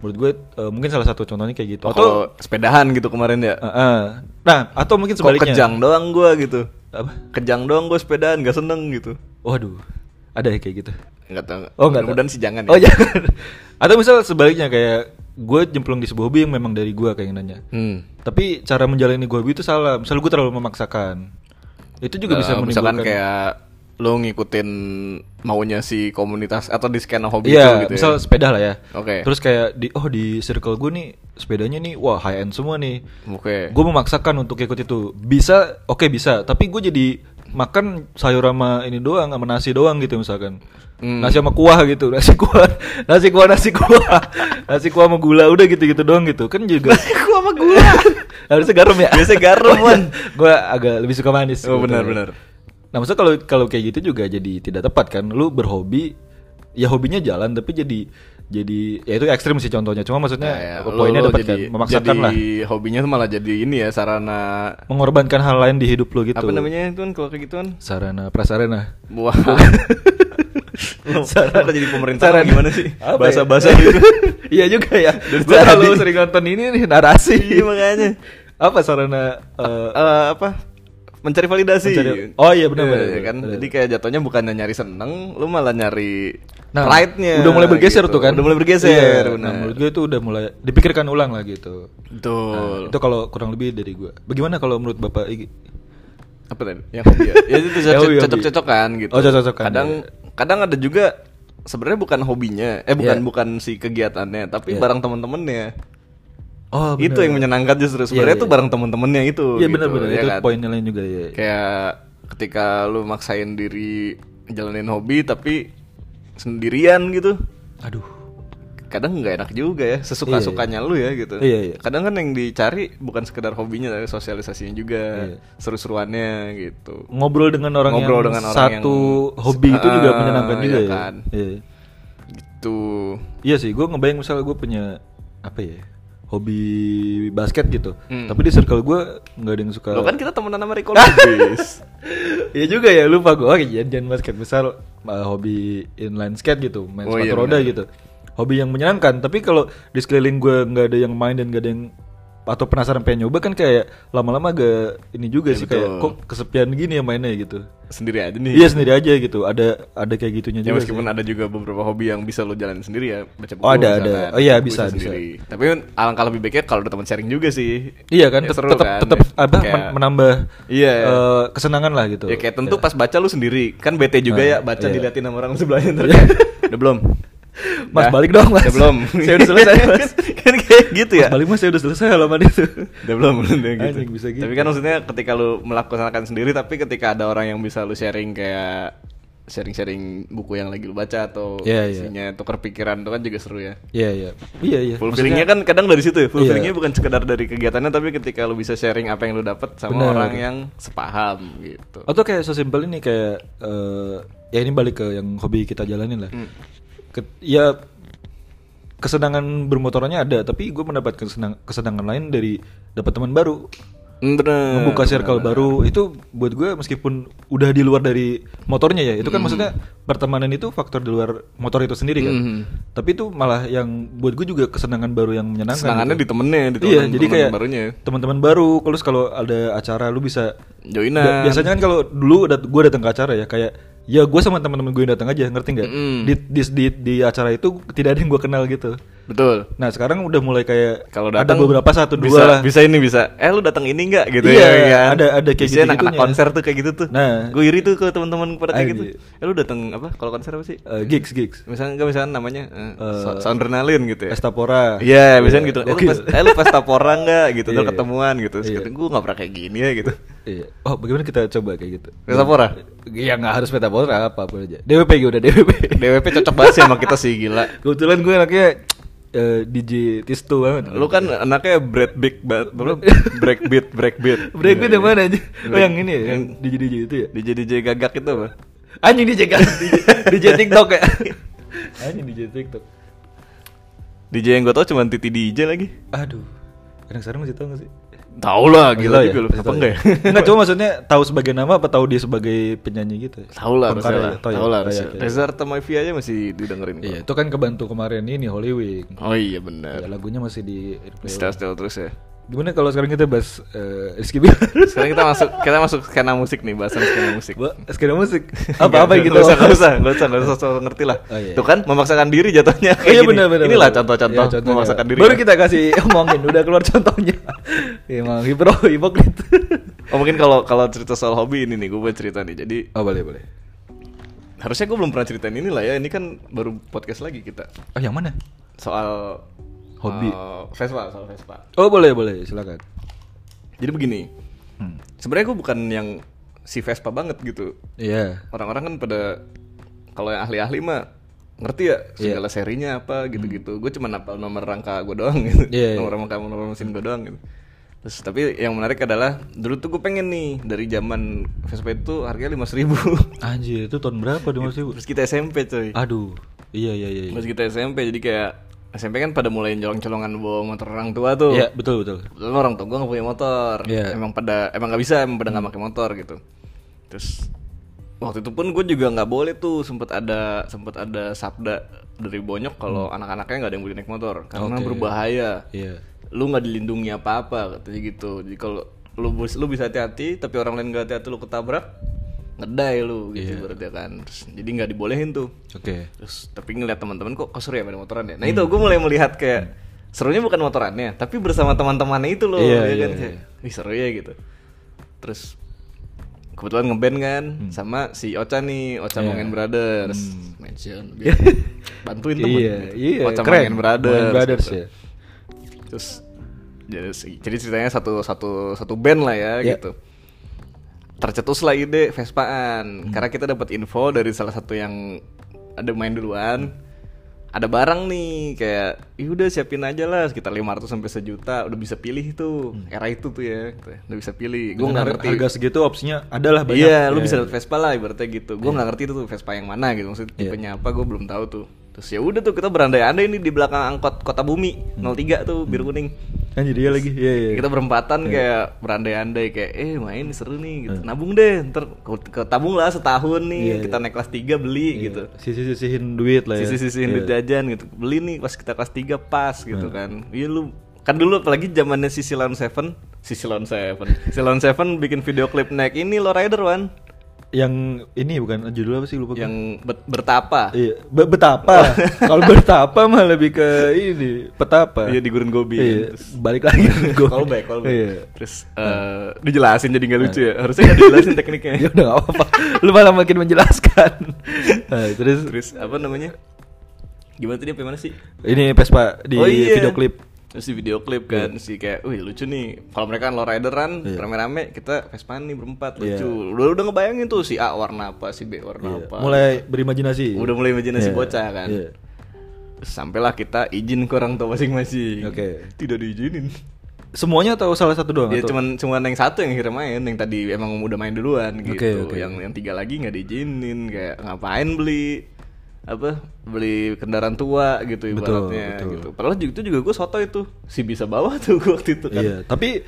Speaker 1: menurut gue eh, mungkin salah satu contohnya kayak gitu
Speaker 2: Oh,
Speaker 1: atau
Speaker 2: kalau sepedahan gitu kemarin ya.
Speaker 1: Eh, eh. nah atau mungkin
Speaker 2: Kok
Speaker 1: sebaliknya
Speaker 2: kejang doang gua gitu.
Speaker 1: apa
Speaker 2: Kejang doang gue sepedaan gak seneng gitu.
Speaker 1: waduh ada ya kayak gitu
Speaker 2: nggak tahu
Speaker 1: Oh, nggak tahu.
Speaker 2: mudah-mudahan sih jangan
Speaker 1: Oh ya. *laughs* Atau misal sebaliknya kayak gue jemplung di sebuah hobi yang memang dari gue kayak nanya.
Speaker 2: Hmm.
Speaker 1: Tapi cara menjalani gue hobi itu salah. Misal gue terlalu memaksakan. Itu juga bisa
Speaker 2: Eh, misalkan
Speaker 1: menimbulkan
Speaker 2: kayak lo ngikutin maunya si komunitas atau di skena hobi
Speaker 1: Iya,
Speaker 2: lo gitu
Speaker 1: misal
Speaker 2: ya.
Speaker 1: sepeda lah ya.
Speaker 2: Oke.
Speaker 1: Terus kayak di oh di circle gue nih sepedanya nih wah high end semua nih.
Speaker 2: Oke.
Speaker 1: Gue memaksakan untuk ikut itu. Bisa, oke bisa. Tapi gue jadi makan sayur sama ini doang, sama nasi doang gitu misalkan.
Speaker 2: Hmm.
Speaker 1: Nasi sama kuah gitu, *laughs* nasi kuah, nasi kuah, nasi kuah, nasi kuah sama gula udah gitu-gitu doang gitu. Kan juga
Speaker 2: Gua sama gua.
Speaker 1: *laughs* harusnya garam ya.
Speaker 2: Biasanya garam,
Speaker 1: *laughs*
Speaker 2: Wan.
Speaker 1: gue agak lebih suka manis.
Speaker 2: Oh,
Speaker 1: gitu.
Speaker 2: benar-benar.
Speaker 1: Nah, maksudnya kalau kalau kayak gitu juga jadi tidak tepat kan? Lu berhobi, ya hobinya jalan tapi jadi jadi ya itu ekstrim sih contohnya. Cuma maksudnya poinnya dapat kan, memaksakan
Speaker 2: Nah, ya. jadi
Speaker 1: lah,
Speaker 2: hobinya tuh malah jadi ini ya sarana
Speaker 1: mengorbankan hal lain di hidup lu gitu.
Speaker 2: apa namanya itu kan kalau kayak gituan
Speaker 1: Sarana prasarana.
Speaker 2: Wah. *laughs*
Speaker 1: Sarana-
Speaker 2: Sarana jadi pemerintah
Speaker 1: sarana-
Speaker 2: gimana sih?
Speaker 1: *laughs* Apa ya?
Speaker 2: Bahasa-bahasa gitu.
Speaker 1: *laughs* Iya juga ya.
Speaker 2: Dari
Speaker 1: Gue
Speaker 2: tadi.
Speaker 1: kalau sering nonton ini nih narasi.
Speaker 2: Iya, makanya.
Speaker 1: apa sarana eh,
Speaker 2: Eh, apa? Mencari validasi.
Speaker 1: Mencari- oh, iya, benar,
Speaker 2: Iya,
Speaker 1: benar,
Speaker 2: kan.
Speaker 1: benar.
Speaker 2: Jadi kayak jatuhnya bukannya nyari seneng, lu malah nyari
Speaker 1: Nah,
Speaker 2: pride-nya.
Speaker 1: udah mulai bergeser
Speaker 2: gitu.
Speaker 1: tuh kan
Speaker 2: Udah mulai bergeser,
Speaker 1: Iya,
Speaker 2: benar.
Speaker 1: nah, menurut gue itu udah mulai dipikirkan ulang lah gitu
Speaker 2: Betul.
Speaker 1: Nah, itu kalau kurang lebih dari gue bagaimana kalau menurut bapak Igi?
Speaker 2: apa tadi? Yang hobi ya. ya itu
Speaker 1: *laughs* Yang hobi, hobi.
Speaker 2: cocok-cocokan gitu.
Speaker 1: Oh, cocok-cocokan,
Speaker 2: Kadang kadang ada juga sebenarnya bukan hobinya, eh bukan
Speaker 1: Iya.
Speaker 2: bukan si kegiatannya, tapi
Speaker 1: Iya.
Speaker 2: barang teman-temannya.
Speaker 1: oh
Speaker 2: itu yang menyenangkan justru
Speaker 1: Iya,
Speaker 2: sebenarnya
Speaker 1: iya.
Speaker 2: itu barang teman-temannya itu.
Speaker 1: iya
Speaker 2: gitu,
Speaker 1: benar-benar
Speaker 2: ya
Speaker 1: itu
Speaker 2: kan?
Speaker 1: poinnya lain juga ya
Speaker 2: Kayak ketika lu maksain diri jalanin hobi tapi sendirian gitu.
Speaker 1: aduh
Speaker 2: Kadang nggak enak juga ya, sesuka-sukanya lu ya gitu.
Speaker 1: Iya, iya.
Speaker 2: Kadang kan yang dicari bukan sekedar hobinya tapi sosialisasinya juga,
Speaker 1: Iya.
Speaker 2: seru-seruannya gitu.
Speaker 1: ngobrol dengan orang
Speaker 2: Ngobrol
Speaker 1: yang
Speaker 2: dengan orang
Speaker 1: satu
Speaker 2: yang-
Speaker 1: hobi itu juga
Speaker 2: Ah,
Speaker 1: menyenangkan
Speaker 2: iya
Speaker 1: juga ya
Speaker 2: kan.
Speaker 1: iya
Speaker 2: Gitu.
Speaker 1: Iya sih gue ngebayang misalnya gue punya apa ya hobi basket gitu
Speaker 2: Hmm.
Speaker 1: tapi di circle gue nggak ada yang suka
Speaker 2: Lo kan kita temenan sama Rico Lubis.
Speaker 1: *laughs* Iya juga ya lupa gue Oke jangan, jangan basket Misal uh, hobi inline skate gitu Main
Speaker 2: Oh,
Speaker 1: sepatu
Speaker 2: iya,
Speaker 1: roda
Speaker 2: benar.
Speaker 1: gitu Hobi yang menyenangkan Tapi kalau di sekeliling gue nggak ada yang main dan nggak ada yang Atau penasaran pengen nyoba kan kayak Lama-lama agak ini juga
Speaker 2: Ya,
Speaker 1: sih
Speaker 2: betul.
Speaker 1: Kayak kok kesepian gini ya mainnya gitu
Speaker 2: sendiri aja nih.
Speaker 1: Iya sendiri aja gitu Ada ada kayak gitunya
Speaker 2: Ya
Speaker 1: juga
Speaker 2: meskipun ada juga beberapa hobi yang bisa lo jalanin sendiri ya baca buku
Speaker 1: Oh, ada, ada.
Speaker 2: misalkan.
Speaker 1: Oh, iya,
Speaker 2: Buku
Speaker 1: bisa, bisa.
Speaker 2: Tapi alangkah lebih baiknya kalau ada teman sharing juga sih.
Speaker 1: Iya kan
Speaker 2: Ya,
Speaker 1: tetap
Speaker 2: seru
Speaker 1: tetap
Speaker 2: kan?
Speaker 1: tetap apa,
Speaker 2: Kayak-
Speaker 1: men- menambah
Speaker 2: Iya.
Speaker 1: eh, kesenangan lah gitu.
Speaker 2: Ya kayak tentu pas baca lu sendiri kan bete juga
Speaker 1: Nah,
Speaker 2: ya baca
Speaker 1: iya.
Speaker 2: diliatin sama orang
Speaker 1: *laughs*
Speaker 2: sebelahnya ntar. Udah belum?
Speaker 1: Mas
Speaker 2: Udah?
Speaker 1: balik dong, Mas.
Speaker 2: Udah *laughs* belum?
Speaker 1: Saya udah selesai, *laughs* Mas.
Speaker 2: kan kayak gitu ya.
Speaker 1: Mas Bali mas saya udah selesai halaman itu.
Speaker 2: Udah belum belum ya gitu.
Speaker 1: Anjing, bisa gitu.
Speaker 2: Tapi kan maksudnya ketika lu melaksanakan sendiri tapi ketika ada orang yang bisa lu sharing kayak sharing-sharing buku yang lagi lu baca atau
Speaker 1: Iya, iya.
Speaker 2: isinya tukar pikiran itu kan juga seru ya.
Speaker 1: Iya iya. Iya iya.
Speaker 2: Fulfillingnya kan kadang dari situ ya. Fulfillingnya
Speaker 1: Iya.
Speaker 2: bukan sekedar dari kegiatannya tapi ketika lu bisa sharing apa yang lu dapat sama
Speaker 1: Benar.
Speaker 2: orang yang sepaham gitu.
Speaker 1: Atau kayak sesimpel ini kayak eh, ya ini balik ke yang hobi kita jalanin lah.
Speaker 2: Hmm.
Speaker 1: Ke- ya kesenangan bermotorannya ada, tapi gue mendapatkan kesenang- kesenangan lain dari dapat teman baru,
Speaker 2: Mm, bener.
Speaker 1: membuka circle baru. Itu buat gue meskipun udah di luar dari motornya ya, itu kan
Speaker 2: Hmm.
Speaker 1: maksudnya pertemanan itu faktor di luar motor itu sendiri kan.
Speaker 2: Mm.
Speaker 1: Tapi itu malah yang buat gue juga kesenangan baru yang menyenangkan.
Speaker 2: Senangannya
Speaker 1: gitu.
Speaker 2: di temennya, di
Speaker 1: Iya,
Speaker 2: temen-
Speaker 1: jadi
Speaker 2: temen
Speaker 1: kayak
Speaker 2: barunya.
Speaker 1: teman-teman baru, terus kalau ada acara lu bisa
Speaker 2: Joinan.
Speaker 1: Bi- Biasanya kan kalau dulu dat gue datang ke acara ya kayak ya gue sama teman-teman gue yang datang aja ngerti nggak?
Speaker 2: Mm-mm.
Speaker 1: Di, di, di di acara itu tidak ada yang gue kenal gitu.
Speaker 2: Betul.
Speaker 1: Nah sekarang udah mulai kayak
Speaker 2: Kalau
Speaker 1: ada
Speaker 2: datang
Speaker 1: beberapa satu dua
Speaker 2: bisa,
Speaker 1: lah.
Speaker 2: Bisa ini bisa. Eh lu datang ini enggak gitu
Speaker 1: Iya,
Speaker 2: ya kan?
Speaker 1: ada- ada kayak
Speaker 2: Biasanya anak-anak
Speaker 1: gitu-gitunya.
Speaker 2: konser tuh kayak gitu tuh.
Speaker 1: Nah.
Speaker 2: gue iri tuh ke teman-teman pada kayak gitu.
Speaker 1: Anjir.
Speaker 2: Eh lu datang apa? Kalau konser apa sih?
Speaker 1: Eh, gigs gigs.
Speaker 2: Misalnya enggak misalnya namanya eh,
Speaker 1: Eh,
Speaker 2: so- Soundrenalin gitu ya.
Speaker 1: Estapora.
Speaker 2: Iya, biasanya gitu. Eh, lu
Speaker 1: gokil.
Speaker 2: pas, eh, lu pesta pora nggak
Speaker 1: *laughs*
Speaker 2: gitu,
Speaker 1: Iya,
Speaker 2: terus
Speaker 1: iya.
Speaker 2: ketemuan gitu. Terus
Speaker 1: Iya.
Speaker 2: kata, gue nggak pernah kayak gini ya gitu. *laughs*
Speaker 1: Iya. Oh bagaimana kita coba kayak gitu?
Speaker 2: Pesta pora?
Speaker 1: Ya nggak harus metapora apa pun aja. DWP gue gitu udah DWP.
Speaker 2: DWP cocok banget sih sama kita sih gila.
Speaker 1: Kebetulan gue anaknya eh, DJ Tisto banget.
Speaker 2: Lu kan anaknya break big banget, lu
Speaker 1: *laughs*
Speaker 2: break beat, break beat.
Speaker 1: Break gue yang mana aja? Oh yang ini ya, yang
Speaker 2: Iya, Yang-
Speaker 1: DJ DJ itu ya?
Speaker 2: DJ DJ gagak itu apa?
Speaker 1: Anjing DJ
Speaker 2: *laughs*
Speaker 1: kan DJ, DJ TikTok ya. Anjing DJ TikTok.
Speaker 2: DJ yang gue tau cuma Titi DJ lagi.
Speaker 1: Aduh. Anak sekarang masih tahu gak sih?
Speaker 2: Tahu lah,
Speaker 1: Masih
Speaker 2: gila
Speaker 1: tahu
Speaker 2: juga lu.
Speaker 1: Masih
Speaker 2: Apa
Speaker 1: tahu
Speaker 2: enggak ya?
Speaker 1: *laughs* Enggak, cuma maksudnya tahu sebagai nama apa tahu dia sebagai penyanyi gitu? ya?
Speaker 2: Tahu lah,
Speaker 1: Pengkarya,
Speaker 2: harusnya
Speaker 1: ya?
Speaker 2: lah. Tahu lah,
Speaker 1: Oh, iya,
Speaker 2: harusnya.
Speaker 1: oke.
Speaker 2: Reza Artamevia aja masih didengerin. kok.
Speaker 1: Iya, itu kan kebantu kemarin ini Holy Week.
Speaker 2: Oh iya
Speaker 1: Ya,
Speaker 2: benar.
Speaker 1: lagunya masih di
Speaker 2: Setel-setel terus ya.
Speaker 1: Gimana kalau sekarang kita bahas eh, Rizky Bilar?
Speaker 2: *laughs* Sekarang kita masuk kita masuk skena musik nih, bahasan skena musik. *laughs*
Speaker 1: Ba- skena musik. Apa-apa
Speaker 2: Nggak,
Speaker 1: gitu.
Speaker 2: Nggak usah, nggak usah, nggak usah, nggak usah, so- ngerti lah.
Speaker 1: Oh, iya.
Speaker 2: Tuh kan memaksakan diri jatuhnya.
Speaker 1: Oh, *laughs*
Speaker 2: kayak
Speaker 1: iya
Speaker 2: gini.
Speaker 1: benar benar.
Speaker 2: Inilah
Speaker 1: benar.
Speaker 2: contoh-contoh
Speaker 1: Iya, contohnya.
Speaker 2: memaksakan diri.
Speaker 1: Baru
Speaker 2: ya.
Speaker 1: kita kasih *laughs* omongin udah keluar contohnya. *laughs* Iya, Emang hipro *laughs* hipokrit.
Speaker 2: Oh mungkin kalau kalau cerita soal hobi ini nih, gue buat cerita nih. Jadi
Speaker 1: Oh boleh boleh.
Speaker 2: harusnya gue belum pernah ceritain ini lah ya. Ini kan baru podcast lagi kita
Speaker 1: Oh yang mana?
Speaker 2: soal
Speaker 1: Hobi.
Speaker 2: eh, Vespa, soal Vespa.
Speaker 1: Oh boleh boleh silakan.
Speaker 2: Jadi begini,
Speaker 1: Hmm.
Speaker 2: sebenarnya gue bukan yang si Vespa banget gitu.
Speaker 1: Iya.
Speaker 2: Orang-orang kan pada kalau yang ahli-ahli mah ngerti ya
Speaker 1: Iya. Hmm.
Speaker 2: segala serinya apa gitu-gitu. Gue cuma hafal nomor rangka gue doang *laughs* gitu.
Speaker 1: Iya, iya.
Speaker 2: nomor rangka nomor mesin gue doang gitu. Terus tapi yang menarik adalah dulu tuh gue pengen nih dari zaman Vespa itu harganya lima ribu.
Speaker 1: Anjir itu tahun berapa dong Mas Ibu?
Speaker 2: Terus kita SMP coy.
Speaker 1: Aduh. Iya iya iya. iya.
Speaker 2: Terus kita SMP jadi kayak SMP kan pada mulai colong-colongan bawa motor orang tua tuh.
Speaker 1: Iya betul betul.
Speaker 2: Kebetulan orang tua gue gak punya motor
Speaker 1: Iya. Hmm.
Speaker 2: Emang pada Emang gak bisa Emang pada nggak pakai motor gitu Terus Waktu itu pun gue juga nggak boleh tuh sempet ada sempet ada sabda dari bonyok kalau anak-anaknya nggak ada yang boleh naik motor karena
Speaker 1: Hmm. Oke.
Speaker 2: berbahaya
Speaker 1: Iya.
Speaker 2: lu nggak dilindungi apa-apa katanya gitu jadi kalau lu bus- lu bisa hati-hati tapi orang lain nggak hati-hati lu ketabrak ngedai lu gitu
Speaker 1: Iya.
Speaker 2: berarti kan Terus, jadi nggak dibolehin tuh
Speaker 1: Oke.
Speaker 2: terus tapi ngeliat teman-teman kok kok seru ya main motoran ya nah itu gue mulai melihat kayak serunya bukan motorannya tapi bersama teman-temannya itu loh
Speaker 1: Iya,
Speaker 2: ya
Speaker 1: iya,
Speaker 2: kan Kayak, wih seru ya gitu terus kebetulan ngeband kan
Speaker 1: Hmm.
Speaker 2: sama si Ocha nih
Speaker 1: Iya.
Speaker 2: Ocha Mangen Brothers mention biar *laughs* bantuin temen
Speaker 1: Iya
Speaker 2: gitu.
Speaker 1: iya.
Speaker 2: Ocha
Speaker 1: Keren.
Speaker 2: Mangen Brothers,
Speaker 1: Mangan Brothers
Speaker 2: gitu.
Speaker 1: ya.
Speaker 2: terus jadi, jadi ceritanya satu satu satu band lah ya
Speaker 1: Iya.
Speaker 2: gitu tercetuslah ide Vespaan
Speaker 1: Hmm.
Speaker 2: karena kita dapat info dari salah satu yang ada main duluan ada barang nih kayak "Ih, udah siapin aja lah sekitar 500 sampai sejuta udah bisa pilih tuh era itu tuh ya gitu ya. udah bisa pilih
Speaker 1: Hmm.
Speaker 2: gue
Speaker 1: Dengan
Speaker 2: nggak
Speaker 1: har-
Speaker 2: ngerti
Speaker 1: Harga segitu opsinya adalah banyak.
Speaker 2: Iya, lu
Speaker 1: Iya.
Speaker 2: bisa dapet Vespa lah ibaratnya gitu. Gue nggak ngerti itu tuh Vespa yang mana gitu, maksudnya
Speaker 1: Iya.
Speaker 2: tipenya apa gue belum tahu tuh. Terus ya udah tuh kita berandai-andai nih di belakang angkot Kota Bumi
Speaker 1: Hmm.
Speaker 2: 03 tuh biru kuning.
Speaker 1: Anjir dia lagi. Iya iya. Iya.
Speaker 2: Kita berempatan kayak berandai-andai kayak eh main seru nih gitu. Nabung deh, ntar ke- ke- tabung lah setahun nih kita naik kelas 3 beli gitu.
Speaker 1: Iya. Sisi-sisihin duit lah ya.
Speaker 2: Sisi-sisiin duit jajan gitu. Beli nih pas kita kelas 3 pas gitu
Speaker 1: Nah.
Speaker 2: kan. Iya lu kan dulu apalagi zamannya Sisi Lawn Seven, Sisi Lawn Seven, Sisi Lawn Seven bikin video klip naik ini lowrider Wan
Speaker 1: Yang ini bukan judul apa sih lupa. gua.
Speaker 2: yang Oh. bet- bertapa
Speaker 1: Iya, be- betapa. Kalau betapa mah lebih ke ini, petapa.
Speaker 2: dia di gurun gobi
Speaker 1: Iya,
Speaker 2: *laughs*
Speaker 1: balik lagi ke gua.
Speaker 2: callback callback
Speaker 1: Iya.
Speaker 2: terus
Speaker 1: Nah.
Speaker 2: eh, dijelasin jadi nggak lucu ya harusnya nggak
Speaker 1: *laughs*
Speaker 2: dijelasin tekniknya
Speaker 1: Ya udah gak apa-apa. Lu malah makin menjelaskan. Nah, terus
Speaker 2: terus apa namanya gimana tadi apa yang mana sih
Speaker 1: ini Vespa di
Speaker 2: Oh, iya.
Speaker 1: video klip. Iya.
Speaker 2: terus di video klip kan si kayak wih lucu nih kalau mereka kan lowrideran rame-rame kita Vespaan nih berempat
Speaker 1: Iya.
Speaker 2: lucu udah udah ngebayangin tuh si A warna apa si B warna apa
Speaker 1: Mulai berimajinasi.
Speaker 2: udah mulai
Speaker 1: Iya.
Speaker 2: imajinasi bocah kan
Speaker 1: Iya.
Speaker 2: sampailah kita izin ke orang tua masing-masing
Speaker 1: Oke.
Speaker 2: tidak diizinin
Speaker 1: Semuanya atau salah satu doang?
Speaker 2: Dia
Speaker 1: atau-
Speaker 2: Ya, Iya, cuman cuman yang satu yang akhirnya main, yang tadi emang udah main duluan gitu.
Speaker 1: oke.
Speaker 2: Yang yang tiga lagi nggak diizinin kayak ngapain beli apa beli kendaraan tua
Speaker 1: Betul,
Speaker 2: gitu ibaratnya
Speaker 1: betul.
Speaker 2: gitu. Padahal ju- itu juga gue soto itu si bisa bawa tuh gue waktu itu kan.
Speaker 1: Iya, tapi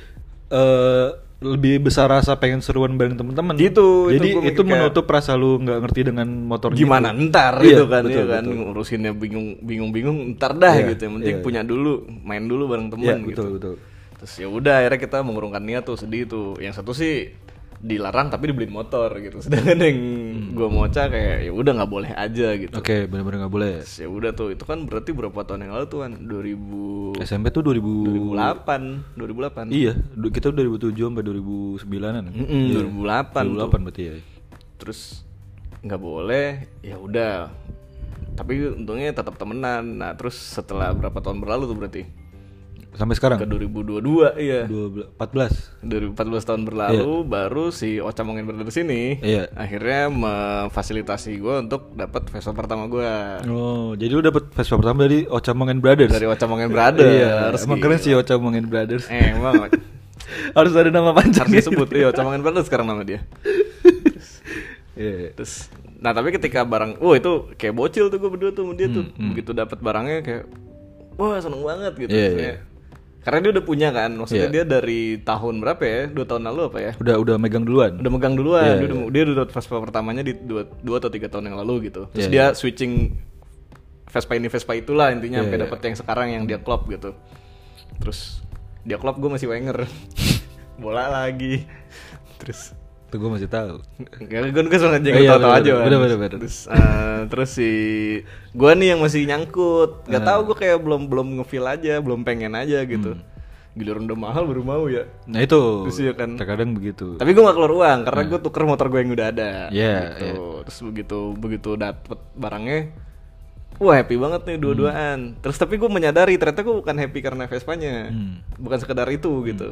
Speaker 1: eh, lebih besar rasa pengen seruan bareng temen-temen.
Speaker 2: Gitu, itu
Speaker 1: Jadi itu,
Speaker 2: gua mikir kayak-
Speaker 1: menutup rasa lu nggak ngerti dengan motornya.
Speaker 2: Gimana
Speaker 1: itu.
Speaker 2: ntar
Speaker 1: Iya,
Speaker 2: gitu kan,
Speaker 1: betul,
Speaker 2: iya kan
Speaker 1: betul.
Speaker 2: ngurusinnya bingung bingung bingung ntar dah
Speaker 1: Iya,
Speaker 2: gitu. Yang penting
Speaker 1: iya.
Speaker 2: punya dulu, main dulu bareng temen
Speaker 1: Iya,
Speaker 2: gitu.
Speaker 1: betul betul.
Speaker 2: Terus ya udah akhirnya kita mengurungkan niat tuh sedih tuh. Yang satu sih dilarang tapi dibeliin motor gitu. *laughs* Sedangkan yang
Speaker 1: Hmm.
Speaker 2: gua moca kayak ya udah nggak boleh aja gitu.
Speaker 1: Oke, benar-benar nggak boleh.
Speaker 2: Terus ya udah tuh itu kan berarti berapa tahun yang lalu tuh kan? 2000
Speaker 1: SMP tuh 2000
Speaker 2: 2008, 2008.
Speaker 1: Iya, du- kita 2007 sampai 2009-an.
Speaker 2: Mm-mm,
Speaker 1: Iya.
Speaker 2: 2008. tuh.
Speaker 1: 2008 berarti ya.
Speaker 2: Terus nggak boleh, ya udah. Tapi untungnya tetap temenan. Nah, terus setelah berapa tahun berlalu tuh berarti?
Speaker 1: Sampai
Speaker 2: Ke
Speaker 1: sekarang
Speaker 2: 2022, iya.
Speaker 1: 12 14.
Speaker 2: 2014 tahun berlalu baru si Ocha Mongin Brothers ini
Speaker 1: Iya.
Speaker 2: akhirnya memfasilitasi gue untuk dapat Vespa pertama gue
Speaker 1: Oh, jadi lu dapet Vespa pertama dari Ocamongan Brothers.
Speaker 2: dari Ocha Mongin Brothers
Speaker 1: *laughs*
Speaker 2: Eh,
Speaker 1: Iya, emang keren sih Ocamongan Brothers.
Speaker 2: emang
Speaker 1: Harus ada nama panjang.
Speaker 2: *laughs* harus *laughs* disebut iya Ocha Mongin Brothers sekarang nama dia
Speaker 1: Iya.
Speaker 2: terus nah tapi ketika barang wah itu kayak bocil tuh gue berdua tuh sama dia tuh
Speaker 1: Hmm,
Speaker 2: begitu dapat barangnya kayak wah seneng banget gitu
Speaker 1: Iya,
Speaker 2: Maksudnya, karena dia udah punya kan maksudnya
Speaker 1: Iya.
Speaker 2: dia dari tahun berapa ya dua tahun lalu apa ya
Speaker 1: Udah udah megang duluan.
Speaker 2: udah megang duluan
Speaker 1: Iya,
Speaker 2: dia, udah, dia udah dapat Vespa pertamanya di dua, dua atau tiga tahun yang lalu gitu
Speaker 1: Iya,
Speaker 2: terus dia switching
Speaker 1: iya.
Speaker 2: Vespa ini Vespa itulah intinya sampai dapat yang sekarang yang dia klop gitu terus Dia klop gue masih Wenger. *laughs* Bola lagi. Terus
Speaker 1: Itu gue masih tahu.
Speaker 2: Enggak, gue gue
Speaker 1: Oh,
Speaker 2: sengaja
Speaker 1: iya,
Speaker 2: nggak tahu
Speaker 1: bener,
Speaker 2: aja kan.
Speaker 1: bener, bener, bener.
Speaker 2: Terus, eh, terus si gue nih yang masih
Speaker 1: Nah.
Speaker 2: nyangkut, nggak tahu gue kayak belum belum ngefeel aja, belum pengen aja gitu.
Speaker 1: Hmm.
Speaker 2: Giliran udah mahal baru mau ya.
Speaker 1: Nah itu.
Speaker 2: Terus iya kan.
Speaker 1: Terkadang begitu.
Speaker 2: Tapi gue gak keluar uang karena gue tuker motor gue yang udah ada.
Speaker 1: gitu. Iya,
Speaker 2: gitu. Terus begitu begitu dapet barangnya, wah happy banget nih dua-duaan. Terus tapi gue menyadari ternyata gue bukan happy karena Vespanya,
Speaker 1: Hmm.
Speaker 2: bukan sekedar itu gitu.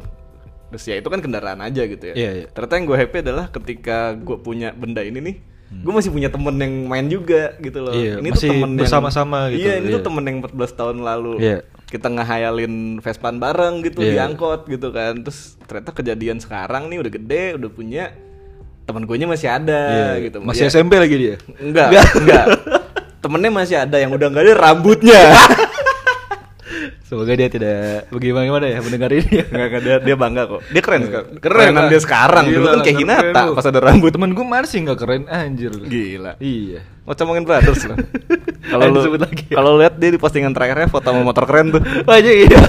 Speaker 2: Terus ya itu kan kendaraan aja gitu ya.
Speaker 1: Iya, iya.
Speaker 2: Ternyata yang gue happy adalah ketika gue punya benda ini nih. Gue masih punya temen yang main juga gitu loh.
Speaker 1: Hmm. Iya,
Speaker 2: ini
Speaker 1: masih
Speaker 2: tuh temen yang-
Speaker 1: bersama-sama gitu,
Speaker 2: Iya, ini tuh
Speaker 1: iya.
Speaker 2: temen yang 14 tahun lalu.
Speaker 1: Iya.
Speaker 2: Kita ngehayalin Vespaan bareng gitu
Speaker 1: Iya.
Speaker 2: diangkut angkot gitu kan terus ternyata kejadian sekarang nih udah gede udah punya teman gue nya masih ada
Speaker 1: Iya.
Speaker 2: gitu
Speaker 1: Masih
Speaker 2: Ya,
Speaker 1: SMP lagi dia.
Speaker 2: enggak enggak temennya masih ada yang udah nggak ada
Speaker 1: *laughs*
Speaker 2: rambutnya
Speaker 1: Semoga dia tidak bagaimana ya mendengar
Speaker 2: *laughs*
Speaker 1: ini.
Speaker 2: Enggak, enggak, dia, dia bangga kok Dia keren sekarang Kerenan
Speaker 1: lah.
Speaker 2: dia sekarang Dulu
Speaker 1: Gila,
Speaker 2: kan kayak
Speaker 1: keren
Speaker 2: Hinata
Speaker 1: lu.
Speaker 2: Pas ada rambut
Speaker 1: Temen gue masih nggak keren anjir. lu.
Speaker 2: Gila
Speaker 1: Iya.
Speaker 2: Mau ngomongin brothers Eh, loh Nah, *laughs* Kalau
Speaker 1: Ayo
Speaker 2: lu
Speaker 1: disebut lagi.
Speaker 2: Kalau lu lihat dia di postingan terakhirnya Foto sama motor keren *laughs* tuh
Speaker 1: Aja iya.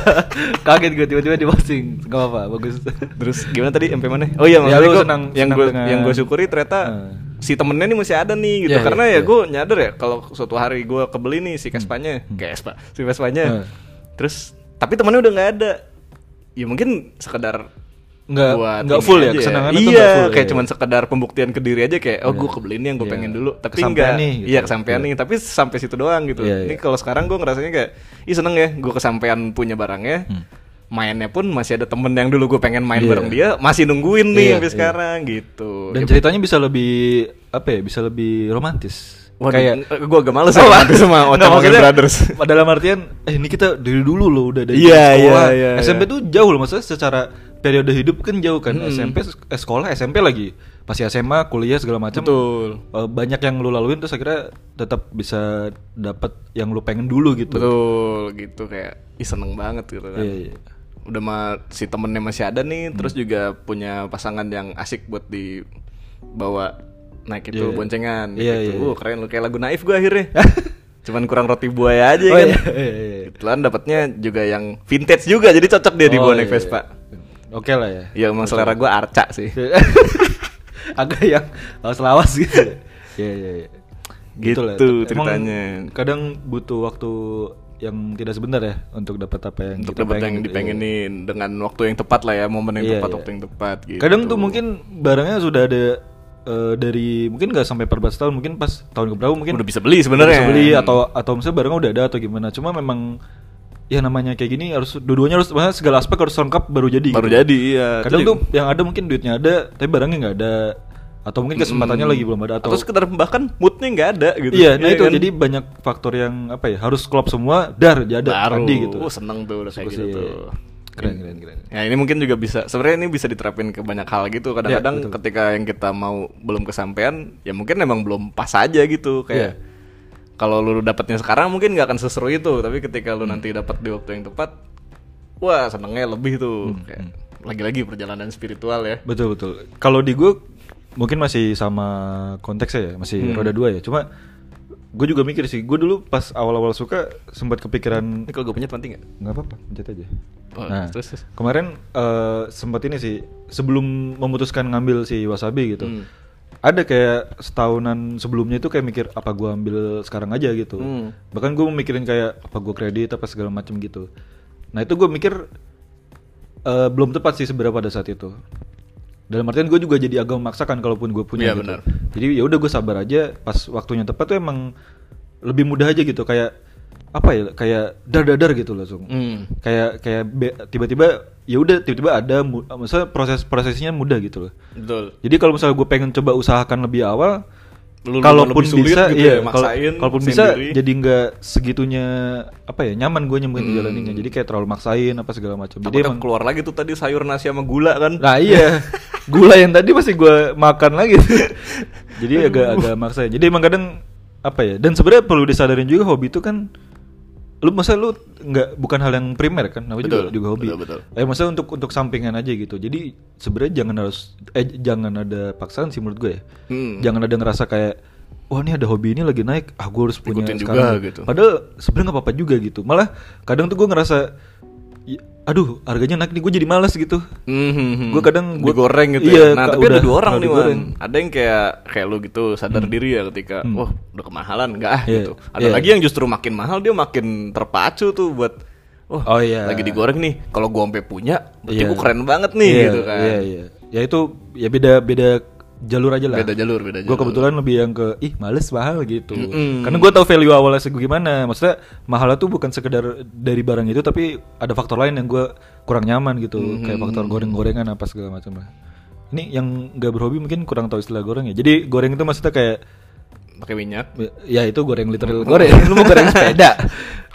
Speaker 1: Kaget gue tiba-tiba di posting. Gak apa-apa, bagus.
Speaker 2: Terus gimana tadi MP mana? Oh iya,
Speaker 1: Ya,
Speaker 2: maksudnya
Speaker 1: lu
Speaker 2: gua-
Speaker 1: senang-
Speaker 2: yang
Speaker 1: senang
Speaker 2: gue
Speaker 1: dengan-
Speaker 2: yang gue syukuri ternyata
Speaker 1: Hmm.
Speaker 2: si temennya nih masih ada nih gitu.
Speaker 1: Iya,
Speaker 2: Karena
Speaker 1: iya,
Speaker 2: ya
Speaker 1: iya.
Speaker 2: gue nyadar ya kalau suatu hari gue kebeli nih si Vespanya, hmm. Vespa, si Vespanya.
Speaker 1: Hmm.
Speaker 2: Terus tapi temennya udah nggak ada. Ya mungkin sekedar
Speaker 1: Nggak-
Speaker 2: buat
Speaker 1: nggak
Speaker 2: ini
Speaker 1: full ya,
Speaker 2: aja
Speaker 1: kesenangannya tuh
Speaker 2: iya,
Speaker 1: nggak full,
Speaker 2: kayak
Speaker 1: iya.
Speaker 2: cuman sekedar pembuktian ke diri aja kayak oh
Speaker 1: Iya.
Speaker 2: gue kebeli ini yang gue
Speaker 1: Iya.
Speaker 2: pengen dulu tapi
Speaker 1: Kesampaian
Speaker 2: enggak
Speaker 1: nih, gitu.
Speaker 2: iya kesampaian
Speaker 1: Iya.
Speaker 2: nih tapi sampai situ doang gitu
Speaker 1: Iya,
Speaker 2: ini
Speaker 1: iya.
Speaker 2: kalau sekarang gue ngerasanya kayak ih seneng ya gue kesampaian punya barangnya mainnya pun masih ada temen yang dulu gue pengen main
Speaker 1: Hmm. Iya.
Speaker 2: bareng dia masih nungguin nih
Speaker 1: Iya,
Speaker 2: sampai
Speaker 1: iya.
Speaker 2: sekarang gitu
Speaker 1: Dan ceritanya bisa lebih apa ya? Bisa lebih romantis.
Speaker 2: kayak
Speaker 1: kayak
Speaker 2: gue agak males sama nanti sama
Speaker 1: Nggak,
Speaker 2: Otamongin
Speaker 1: maksudnya
Speaker 2: Brothers
Speaker 1: *laughs* Dalam artian eh ini kita dari dulu loh udah dari
Speaker 2: Iya,
Speaker 1: sekolah.
Speaker 2: iya, iya,
Speaker 1: SMP
Speaker 2: iya.
Speaker 1: tuh jauh loh maksudnya secara periode hidup kan jauh kan.
Speaker 2: Hmm.
Speaker 1: SMP eh, sekolah SMP lagi ya pasti SMA kuliah segala macam.
Speaker 2: Betul.
Speaker 1: Eh, banyak yang lu laluin terus akhirnya tetap bisa dapat yang lu pengen dulu gitu.
Speaker 2: betul gitu kayak ih seneng banget gitu kan
Speaker 1: Iya, Hmm. iya.
Speaker 2: udah mah si temennya masih ada nih terus juga punya pasangan yang asik buat dibawa naik itu
Speaker 1: Iya.
Speaker 2: boncengan
Speaker 1: Iya,
Speaker 2: gitu
Speaker 1: iya,
Speaker 2: Wah, keren lu kayak lagu naif gue
Speaker 1: *laughs*
Speaker 2: akhirnya cuman kurang roti buaya aja
Speaker 1: Oh,
Speaker 2: kan
Speaker 1: iya, *laughs* iya, iya.
Speaker 2: kebetulan dapatnya juga yang vintage juga jadi cocok dia di
Speaker 1: Oh,
Speaker 2: bawah naik
Speaker 1: iya,
Speaker 2: Vespa
Speaker 1: iya. Oke lah ya.
Speaker 2: ya emang selera gue arca sih
Speaker 1: *laughs* Iya, agak yang lawas lawas gitu ya ya ya
Speaker 2: Iya. Gitu
Speaker 1: lah. Emang
Speaker 2: ceritanya.
Speaker 1: kadang butuh waktu yang tidak sebentar ya untuk dapat apa yang
Speaker 2: untuk
Speaker 1: kita
Speaker 2: dapat yang
Speaker 1: pengen gitu, iya.
Speaker 2: dipengenin dengan waktu yang tepat lah ya momen
Speaker 1: Iya,
Speaker 2: yang tepat
Speaker 1: iya.
Speaker 2: waktu yang tepat gitu
Speaker 1: kadang tuh mungkin barangnya sudah ada eh, dari mungkin nggak sampai 14 tahun mungkin pas tahun keberapa mungkin
Speaker 2: udah bisa beli Iya, sebenarnya
Speaker 1: bisa beli atau atau misalnya barangnya udah ada atau gimana cuma memang ya namanya kayak gini harus dua-duanya harus maksudnya segala aspek harus lengkap baru jadi
Speaker 2: baru
Speaker 1: gitu.
Speaker 2: jadi iya
Speaker 1: kadang
Speaker 2: Itu
Speaker 1: tuh yang ada mungkin duitnya ada tapi barangnya nggak ada atau mungkin kesempatannya lagi belum ada
Speaker 2: Hmm. atau,
Speaker 1: atau,
Speaker 2: sekedar bahkan moodnya nggak ada gitu
Speaker 1: iya nah itu
Speaker 2: kan?
Speaker 1: jadi banyak faktor yang apa ya harus klop semua dar jadi ada
Speaker 2: baru
Speaker 1: tadi gitu
Speaker 2: Oh, seneng tuh udah kayak
Speaker 1: Bagus,
Speaker 2: gitu
Speaker 1: iya.
Speaker 2: tuh
Speaker 1: keren keren keren
Speaker 2: Ya ini mungkin juga bisa sebenarnya ini bisa diterapin ke banyak hal gitu
Speaker 1: Iya,
Speaker 2: kadang-kadang
Speaker 1: betul.
Speaker 2: ketika yang kita mau belum kesampaian ya mungkin emang belum pas aja gitu kayak
Speaker 1: Iya.
Speaker 2: kalau lu dapetnya sekarang mungkin nggak akan seseru itu tapi ketika
Speaker 1: Hmm.
Speaker 2: lu nanti dapat di waktu yang tepat wah senengnya lebih tuh
Speaker 1: Hmm.
Speaker 2: Kayak, lagi-lagi perjalanan spiritual ya
Speaker 1: betul betul kalau di gue mungkin masih sama konteksnya ya masih
Speaker 2: Hmm.
Speaker 1: roda dua ya cuma gue juga mikir sih gue dulu pas awal-awal suka sempat kepikiran
Speaker 2: ini kalau gue penyet nanti nggak
Speaker 1: nggak apa-apa pencet aja
Speaker 2: Oh,
Speaker 1: nah
Speaker 2: terus, terus.
Speaker 1: kemarin eh, sempat ini sih sebelum memutuskan ngambil si wasabi gitu
Speaker 2: Hmm.
Speaker 1: ada kayak setahunan sebelumnya itu kayak mikir apa gua ambil sekarang aja gitu
Speaker 2: Hmm.
Speaker 1: bahkan gue mikirin kayak apa gua kredit apa segala macam gitu nah itu gue mikir eh, belum tepat sih sebenarnya pada saat itu dalam artian gue juga jadi agak memaksakan kalaupun gue punya
Speaker 2: Iya,
Speaker 1: gitu.
Speaker 2: benar.
Speaker 1: jadi ya udah gue sabar aja pas waktunya tepat tuh emang lebih mudah aja gitu kayak apa ya kayak dar dar dar gitu langsung
Speaker 2: Hmm.
Speaker 1: kayak kayak be- tiba-tiba ya udah tiba-tiba ada mu- maksudnya proses prosesnya mudah gitu loh
Speaker 2: betul
Speaker 1: jadi kalau misalnya gue pengen coba usahakan lebih awal,
Speaker 2: Lu
Speaker 1: kalaupun
Speaker 2: lebih sulit
Speaker 1: bisa,
Speaker 2: gitu
Speaker 1: iya,
Speaker 2: ya,
Speaker 1: kalau-
Speaker 2: maksain
Speaker 1: kalaupun bisa
Speaker 2: sendiri.
Speaker 1: jadi nggak segitunya apa ya nyaman gue nyemuin
Speaker 2: Hmm.
Speaker 1: jalaninnya. Jadi kayak terlalu maksain apa segala macam. Jadi
Speaker 2: Takutnya
Speaker 1: emang,
Speaker 2: keluar lagi tuh tadi sayur nasi sama gula kan
Speaker 1: nah iya, gula yang tadi masih gue makan lagi. jadi agak-agak maksain. Jadi emang kadang apa ya? Dan sebenarnya perlu disadarin juga hobi itu kan lu masa lu nggak bukan hal yang primer kan namanya juga,
Speaker 2: Betul,
Speaker 1: juga hobi
Speaker 2: betul, betul.
Speaker 1: eh masa untuk untuk sampingan aja gitu jadi sebenarnya jangan harus eh jangan ada paksaan sih menurut gue ya
Speaker 2: Hmm.
Speaker 1: jangan ada ngerasa kayak wah ini ada hobi ini lagi naik ah gue harus punya
Speaker 2: Ikutin juga
Speaker 1: sekarang
Speaker 2: gitu.
Speaker 1: padahal sebenarnya nggak apa-apa juga gitu malah kadang tuh gue ngerasa "Ya, aduh harganya naik nih gue jadi males gitu
Speaker 2: Mhm.
Speaker 1: Gua kadang gua-
Speaker 2: digoreng gitu
Speaker 1: iya,
Speaker 2: ya. Nah,
Speaker 1: ka-
Speaker 2: tapi ada
Speaker 1: udah,
Speaker 2: dua orang
Speaker 1: udah
Speaker 2: nih, Man.
Speaker 1: digoreng. Hmm.
Speaker 2: Ada yang kayak kayak lu gitu sadar diri ya ketika wah, udah kemahalan enggak ah
Speaker 1: Iya,
Speaker 2: gitu. Ada
Speaker 1: iya.
Speaker 2: lagi yang justru makin mahal dia makin terpacu tuh buat wah,
Speaker 1: Oh, iya.
Speaker 2: lagi digoreng nih. Kalau gua sampai punya, berarti
Speaker 1: Iya.
Speaker 2: gua keren banget nih
Speaker 1: Iya,
Speaker 2: gitu kan.
Speaker 1: iya iya ya itu ya beda beda jalur aja lah
Speaker 2: Beda jalur, beda jalur.
Speaker 1: gue kebetulan lebih yang ke ih males mahal gitu
Speaker 2: Mm-mm.
Speaker 1: karena gue tahu value awalnya segu gimana maksudnya mahalnya tuh bukan sekedar dari barang itu tapi ada faktor lain yang gue kurang nyaman gitu kayak faktor goreng-gorengan apa segala macam lah ini yang nggak berhobi mungkin kurang tahu istilah goreng ya jadi goreng itu maksudnya kayak
Speaker 2: Pakai minyak.
Speaker 1: ya itu goreng literal goreng lu mau *laughs* goreng sepeda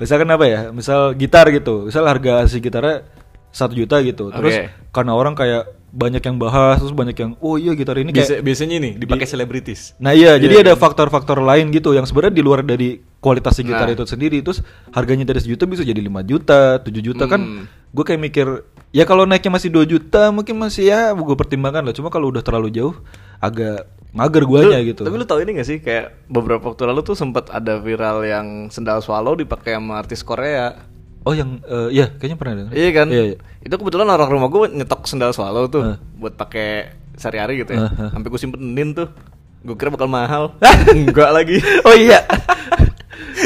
Speaker 1: misalkan apa ya misal gitar gitu misal harga si gitarnya satu juta gitu terus
Speaker 2: Oke.
Speaker 1: karena orang kayak banyak yang bahas terus banyak yang oh iya gitar ini kayak
Speaker 2: Biasa- biasanya nih dipakai selebritis.
Speaker 1: Nah iya, jadi ada faktor-faktor lain gitu yang sebenarnya di luar dari kualitas si gitar itu sendiri terus harganya dari sejuta bisa jadi 5 juta, 7 juta kan gue kayak mikir ya kalau naiknya masih 2 juta mungkin masih ya gue pertimbangkan lah cuma kalau udah terlalu jauh agak mager guanya gitu.
Speaker 2: Tapi lu tahu ini gak sih kayak beberapa waktu lalu tuh sempat ada viral yang sendal swallow dipakai sama artis Korea.
Speaker 1: Oh yang eh, ya kayaknya pernah dengar.
Speaker 2: *laughs* Iya kan?
Speaker 1: Iya, iya.
Speaker 2: Itu kebetulan orang rumah gue nyetok sendal swallow tuh
Speaker 1: Heeh.
Speaker 2: buat pakai sehari-hari gitu ya.
Speaker 1: Heeh, heeh.
Speaker 2: Sampai gue simpenin tuh. Gue kira bakal
Speaker 1: *laughs*
Speaker 2: mahal. Enggak lagi.
Speaker 1: Oh
Speaker 2: *laughs*
Speaker 1: iya.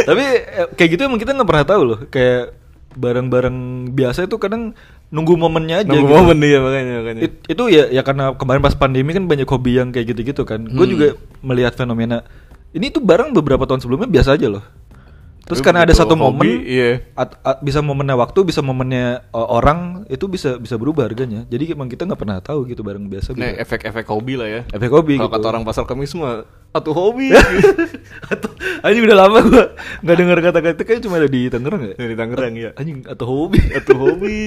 Speaker 1: Tapi eh, kayak gitu emang kita nggak pernah tahu loh kayak barang-barang biasa itu kadang nunggu momennya *laughs* aja
Speaker 2: Nunggu
Speaker 1: gitu.
Speaker 2: momen iya. dia makanya makanya.
Speaker 1: It- itu ya ya karena kemarin pas pandemi kan banyak hobi yang kayak gitu-gitu kan. Gue
Speaker 2: Hmm.
Speaker 1: juga melihat fenomena ini tuh barang beberapa tahun sebelumnya biasa aja loh. Terus
Speaker 2: Tapi
Speaker 1: karena ada
Speaker 2: begitu
Speaker 1: satu
Speaker 2: hobi,
Speaker 1: momen,
Speaker 2: iya.
Speaker 1: at- at- bisa momennya waktu, bisa momennya uh, orang itu bisa bisa berubah harganya. Jadi emang kita nggak pernah tahu gitu barang biasa.
Speaker 2: Nah,
Speaker 1: bisa.
Speaker 2: efek-efek hobi lah ya.
Speaker 1: Efek hobi
Speaker 2: Kalau
Speaker 1: gitu.
Speaker 2: kata orang pasar kami semua, satu hobi.
Speaker 1: *laughs* atau anjing udah lama gue nggak dengar kata-kata itu kayak cuma ada di Tangerang ya.
Speaker 2: Dari Tangerang ya.
Speaker 1: Anjing atau hobi
Speaker 2: Satu hobi.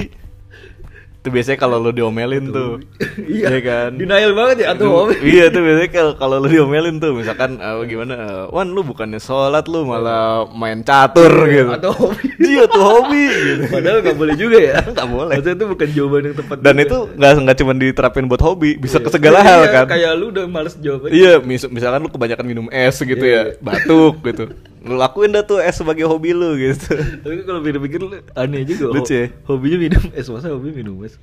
Speaker 2: Itu biasanya kalau lo diomelin tuh.
Speaker 1: *laughs*
Speaker 2: Iya kan?
Speaker 1: Denial banget ya atau hobi.
Speaker 2: *laughs* iya tuh biasanya kalau kalau lu diomelin tuh misalkan eh, gimana eh, Wan lu bukannya sholat lu malah main catur gitu
Speaker 1: Iya, Atau hobi.
Speaker 2: *laughs* iya tuh hobi gitu.
Speaker 1: Padahal nggak boleh juga ya.
Speaker 2: *laughs* Nggak boleh.
Speaker 1: Maksudnya itu bukan jawaban yang tepat.
Speaker 2: dan
Speaker 1: juga.
Speaker 2: itu nggak nggak cuma diterapin buat hobi bisa ke
Speaker 1: Iya.
Speaker 2: segala
Speaker 1: Iya,
Speaker 2: hal kan
Speaker 1: Kayak lu udah males jawab aja.
Speaker 2: iya mis- misalkan lu kebanyakan minum es gitu
Speaker 1: Iya.
Speaker 2: ya batuk gitu lu lakuin dah tuh es sebagai hobi lu
Speaker 1: *laughs*
Speaker 2: gitu
Speaker 1: *laughs* Tapi kalau pikir-pikir lu aneh juga.
Speaker 2: Lucu ya?
Speaker 1: Ho- Hobinya minum es masa hobi minum es.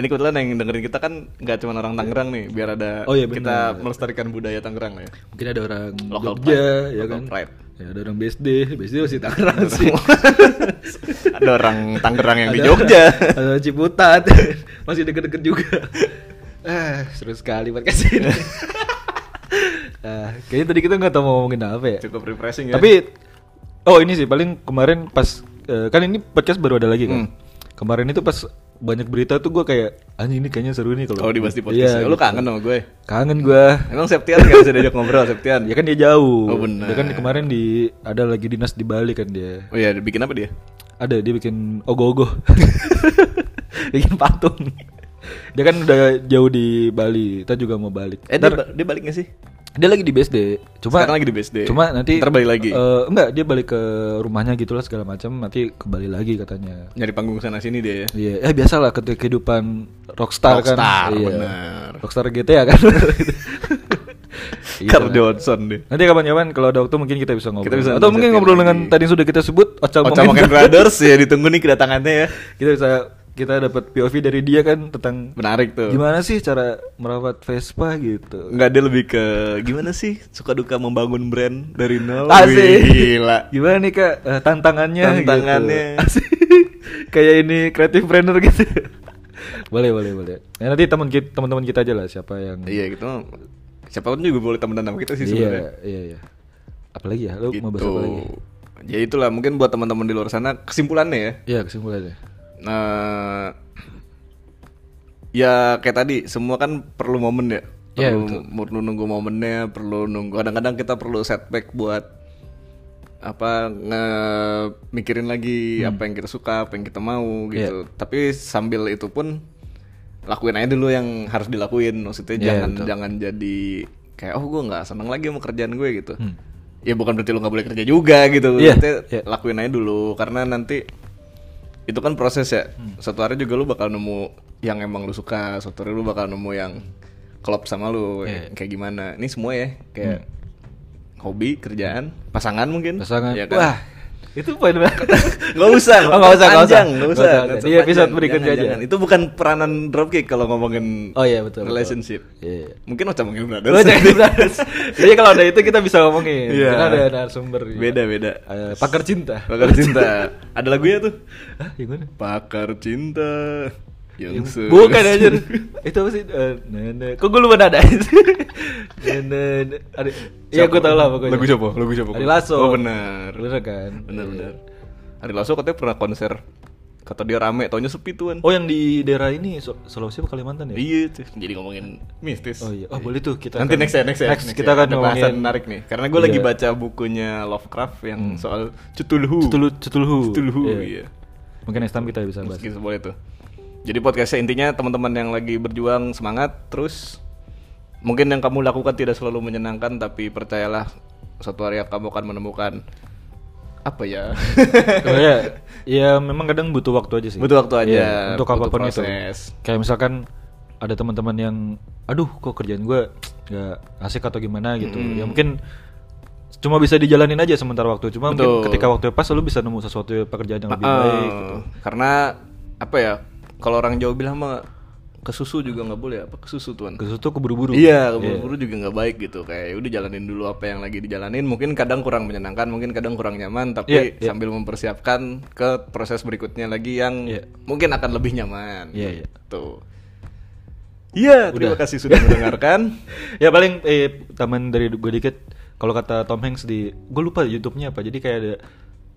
Speaker 2: ini kebetulan yang dengerin kita kan nggak cuma orang Tangerang nih biar ada
Speaker 1: Oh iya,
Speaker 2: kita melestarikan budaya Tangerang
Speaker 1: *laughs*
Speaker 2: lah ya
Speaker 1: Mungkin ada orang
Speaker 2: Local
Speaker 1: Jogja
Speaker 2: pride.
Speaker 1: ya
Speaker 2: Local
Speaker 1: kan.
Speaker 2: pride.
Speaker 1: Ya ada orang BSD, BSD masih Tangerang sih.
Speaker 2: *laughs* ada orang Tangerang yang di
Speaker 1: Ada- *laughs*
Speaker 2: Jogja
Speaker 1: Ada orang Ciputat. *laughs* masih deket-deket juga. Ah, seru sekali podcast
Speaker 2: *laughs*
Speaker 1: ini. Ah, kayaknya tadi kita nggak tahu mau ngomongin apa ya.
Speaker 2: cukup refreshing ya
Speaker 1: Tapi oh ini sih paling kemarin pas eh, kan ini podcast baru ada lagi kan.
Speaker 2: Hmm.
Speaker 1: Kemarin itu pas banyak berita tuh gue kayak anjing ini kayaknya seru nih kalau Iya, gitu.
Speaker 2: kalau dibahas di podcast ya, lu kangen sama gue
Speaker 1: kangen gua.
Speaker 2: emang Septian gak bisa diajak ngobrol Septian
Speaker 1: Ya kan dia jauh.
Speaker 2: Oh, benar.
Speaker 1: Dia kan kemarin di ada lagi dinas di Bali kan dia.
Speaker 2: oh iya bikin apa dia
Speaker 1: Ada dia bikin ogoh-ogoh. *laughs* bikin patung. Dia kan udah jauh di Bali. Kita juga mau balik.
Speaker 2: eh dia, ba- dia balik gak sih
Speaker 1: Dia lagi di BSD. Cuma
Speaker 2: Sekarang lagi di BSD.
Speaker 1: Cuma nanti
Speaker 2: Ntar balik lagi.
Speaker 1: eh, enggak, dia balik ke rumahnya gitulah segala macam, nanti kembali lagi katanya.
Speaker 2: nyari panggung sana sini dia ya
Speaker 1: Iya, ya biasalah ketika kehidupan rockstar,
Speaker 2: Rockstar,
Speaker 1: kan. Iya.
Speaker 2: benar.
Speaker 1: Rockstar GTA kan. *laughs* Iya.
Speaker 2: Carl Johnson deh
Speaker 1: Nanti kapan-kapan kalau ada waktu mungkin kita bisa ngobrol.
Speaker 2: Kita bisa
Speaker 1: Atau mungkin
Speaker 2: lanjutin
Speaker 1: ngobrol
Speaker 2: lagi.
Speaker 1: dengan tadi yang sudah kita sebut Ocal
Speaker 2: Ocha Moken
Speaker 1: Momen.
Speaker 2: Brothers ya ditunggu nih kedatangannya ya
Speaker 1: *laughs* Kita bisa kita dapat POV dari dia kan tentang
Speaker 2: menarik tuh
Speaker 1: gimana sih cara merawat Vespa gitu.
Speaker 2: Enggak dia lebih ke gimana sih suka duka membangun brand dari nol
Speaker 1: Asik.
Speaker 2: Wih, gila
Speaker 1: Gimana nih kak eh, tantangannya?
Speaker 2: Tantangannya.
Speaker 1: gitu. Asik. *laughs* Kayak ini creative planner gitu. boleh boleh boleh. Ya, nanti teman kita teman-teman kita aja lah siapa yang.
Speaker 2: iya gitu siapa pun juga boleh temenan sama kita sih
Speaker 1: Hmm. iya
Speaker 2: sebenarnya
Speaker 1: iya iya. Apalagi ya, lu mau bahas
Speaker 2: gitu
Speaker 1: apa lagi?
Speaker 2: ya itulah mungkin buat teman-teman di luar sana kesimpulannya ya
Speaker 1: Iya kesimpulannya.
Speaker 2: eh ya kayak tadi semua kan perlu momen ya
Speaker 1: Iya,
Speaker 2: perlu, perlu nunggu momennya perlu nunggu kadang-kadang kita perlu setback buat apa nge mikirin lagi
Speaker 1: Hmm.
Speaker 2: apa yang kita suka apa yang kita mau gitu
Speaker 1: Iya.
Speaker 2: tapi sambil itu pun lakuin aja dulu yang harus dilakuin
Speaker 1: Iya,
Speaker 2: maksudnya jangan jangan jadi kayak oh gue nggak seneng lagi sama kerjaan gue gitu
Speaker 1: Hmm.
Speaker 2: ya bukan berarti lo nggak boleh kerja juga gitu
Speaker 1: Iya,
Speaker 2: Maksudnya
Speaker 1: iya.
Speaker 2: lakuin aja dulu karena nanti itu kan proses ya suatu hari juga lu bakal nemu yang emang lu suka suatu hari lu bakal nemu yang klop sama lu
Speaker 1: Iya.
Speaker 2: kayak gimana ini semua ya kayak hobi kerjaan pasangan mungkin
Speaker 1: Pasangan.
Speaker 2: ya
Speaker 1: Wah. Itu poin
Speaker 2: *laughs*
Speaker 1: banget.
Speaker 2: Gak usah,
Speaker 1: Oh, nggak usah, nggak usah. Nggak
Speaker 2: panjang, nggak usah.
Speaker 1: usah,
Speaker 2: nggak
Speaker 1: nggak
Speaker 2: usah
Speaker 1: usah. Di episode
Speaker 2: panjang,
Speaker 1: berikutnya
Speaker 2: jangan,
Speaker 1: aja.
Speaker 2: jangan. Itu bukan peranan dropkick kalau ngomongin
Speaker 1: Oh iya Oh, betul. betul.
Speaker 2: relationship.
Speaker 1: Iya.
Speaker 2: Mungkin Ocha Mungkin
Speaker 1: Lu
Speaker 2: Brothers.
Speaker 1: jangan
Speaker 2: *laughs*
Speaker 1: dibahas. Jadi kalau ada itu kita bisa ngomongin.
Speaker 2: Iya.
Speaker 1: Karena ada narasumber. ya.
Speaker 2: Beda beda.
Speaker 1: Eh, pakar cinta.
Speaker 2: Pakar cinta. Ada lagunya tuh.
Speaker 1: *laughs* Hah, gimana?
Speaker 2: Pakar cinta. Yang se-
Speaker 1: Bukan anjir.
Speaker 2: *laughs*
Speaker 1: itu apa sih? Eh, nene. Kok gue lupa ada Nene. Ada. Iya
Speaker 2: Siapa?
Speaker 1: gue tau lah pokoknya.
Speaker 2: Lagu siapa? Lagu siapa?
Speaker 1: Ari Lasso.
Speaker 2: Oh, benar.
Speaker 1: Bener kan?
Speaker 2: Benar benar. Ari Lasso katanya pernah konser. Kata dia rame, taunya sepi tuan.
Speaker 1: Oh yang di daerah ini Su- Sulawesi apa Kalimantan ya?
Speaker 2: Iya tuh. Jadi ngomongin mistis.
Speaker 1: Oh iya. Oh boleh tuh kita.
Speaker 2: Nanti
Speaker 1: akan-
Speaker 2: next ya, next ya.
Speaker 1: Next, kita
Speaker 2: ya.
Speaker 1: akan
Speaker 2: Ada
Speaker 1: ngomongin
Speaker 2: bahasan menarik nih. Karena gue lagi
Speaker 1: Iya. Hmm.
Speaker 2: baca bukunya Lovecraft yang soal Cthulhu.
Speaker 1: Cthulhu, Cthulhu.
Speaker 2: Cthulhu,
Speaker 1: Iya.
Speaker 2: iya.
Speaker 1: Mungkin next time kita bisa bahas.
Speaker 2: Mungkin Gitu, boleh tuh. Jadi podcastnya intinya teman-teman yang lagi berjuang semangat terus. Mungkin yang kamu lakukan tidak selalu menyenangkan tapi percayalah suatu hari kamu akan menemukan apa ya?
Speaker 1: Oh, ya, ya memang kadang butuh waktu aja sih.
Speaker 2: Butuh waktu aja,
Speaker 1: Iya, untuk
Speaker 2: butuh
Speaker 1: apapun itu.
Speaker 2: proses.
Speaker 1: Kayak misalkan ada teman-teman yang, aduh kok kerjaan gue nggak asik atau gimana gitu. Ya mungkin cuma bisa dijalanin aja sementara waktu. Cuma mungkin
Speaker 2: Betul.
Speaker 1: ketika waktu pas lu bisa nemu sesuatu pekerjaan yang
Speaker 2: *laughs*
Speaker 1: lebih
Speaker 2: Ah,
Speaker 1: baik. Gitu.
Speaker 2: Karena apa ya? Kalau orang Jawa bilang mah kesusu juga nggak boleh apa kesusu tuan?
Speaker 1: Terus itu keburu-buru.
Speaker 2: Iya, buru-buru juga nggak baik gitu. Kayak udah jalanin dulu apa yang lagi dijalanin. Mungkin kadang kurang menyenangkan, mungkin kadang kurang nyaman, tapi
Speaker 1: Iya, iya.
Speaker 2: sambil mempersiapkan ke proses berikutnya lagi yang
Speaker 1: Iya.
Speaker 2: mungkin akan lebih nyaman.
Speaker 1: Iya, iya.
Speaker 2: Tuh. Iya, terima
Speaker 1: Udah.
Speaker 2: kasih sudah
Speaker 1: *laughs*
Speaker 2: mendengarkan.
Speaker 1: ya paling eh, taman dari gue dikit kalau kata Tom Hanks di gue lupa YouTube-nya apa jadi kayak ada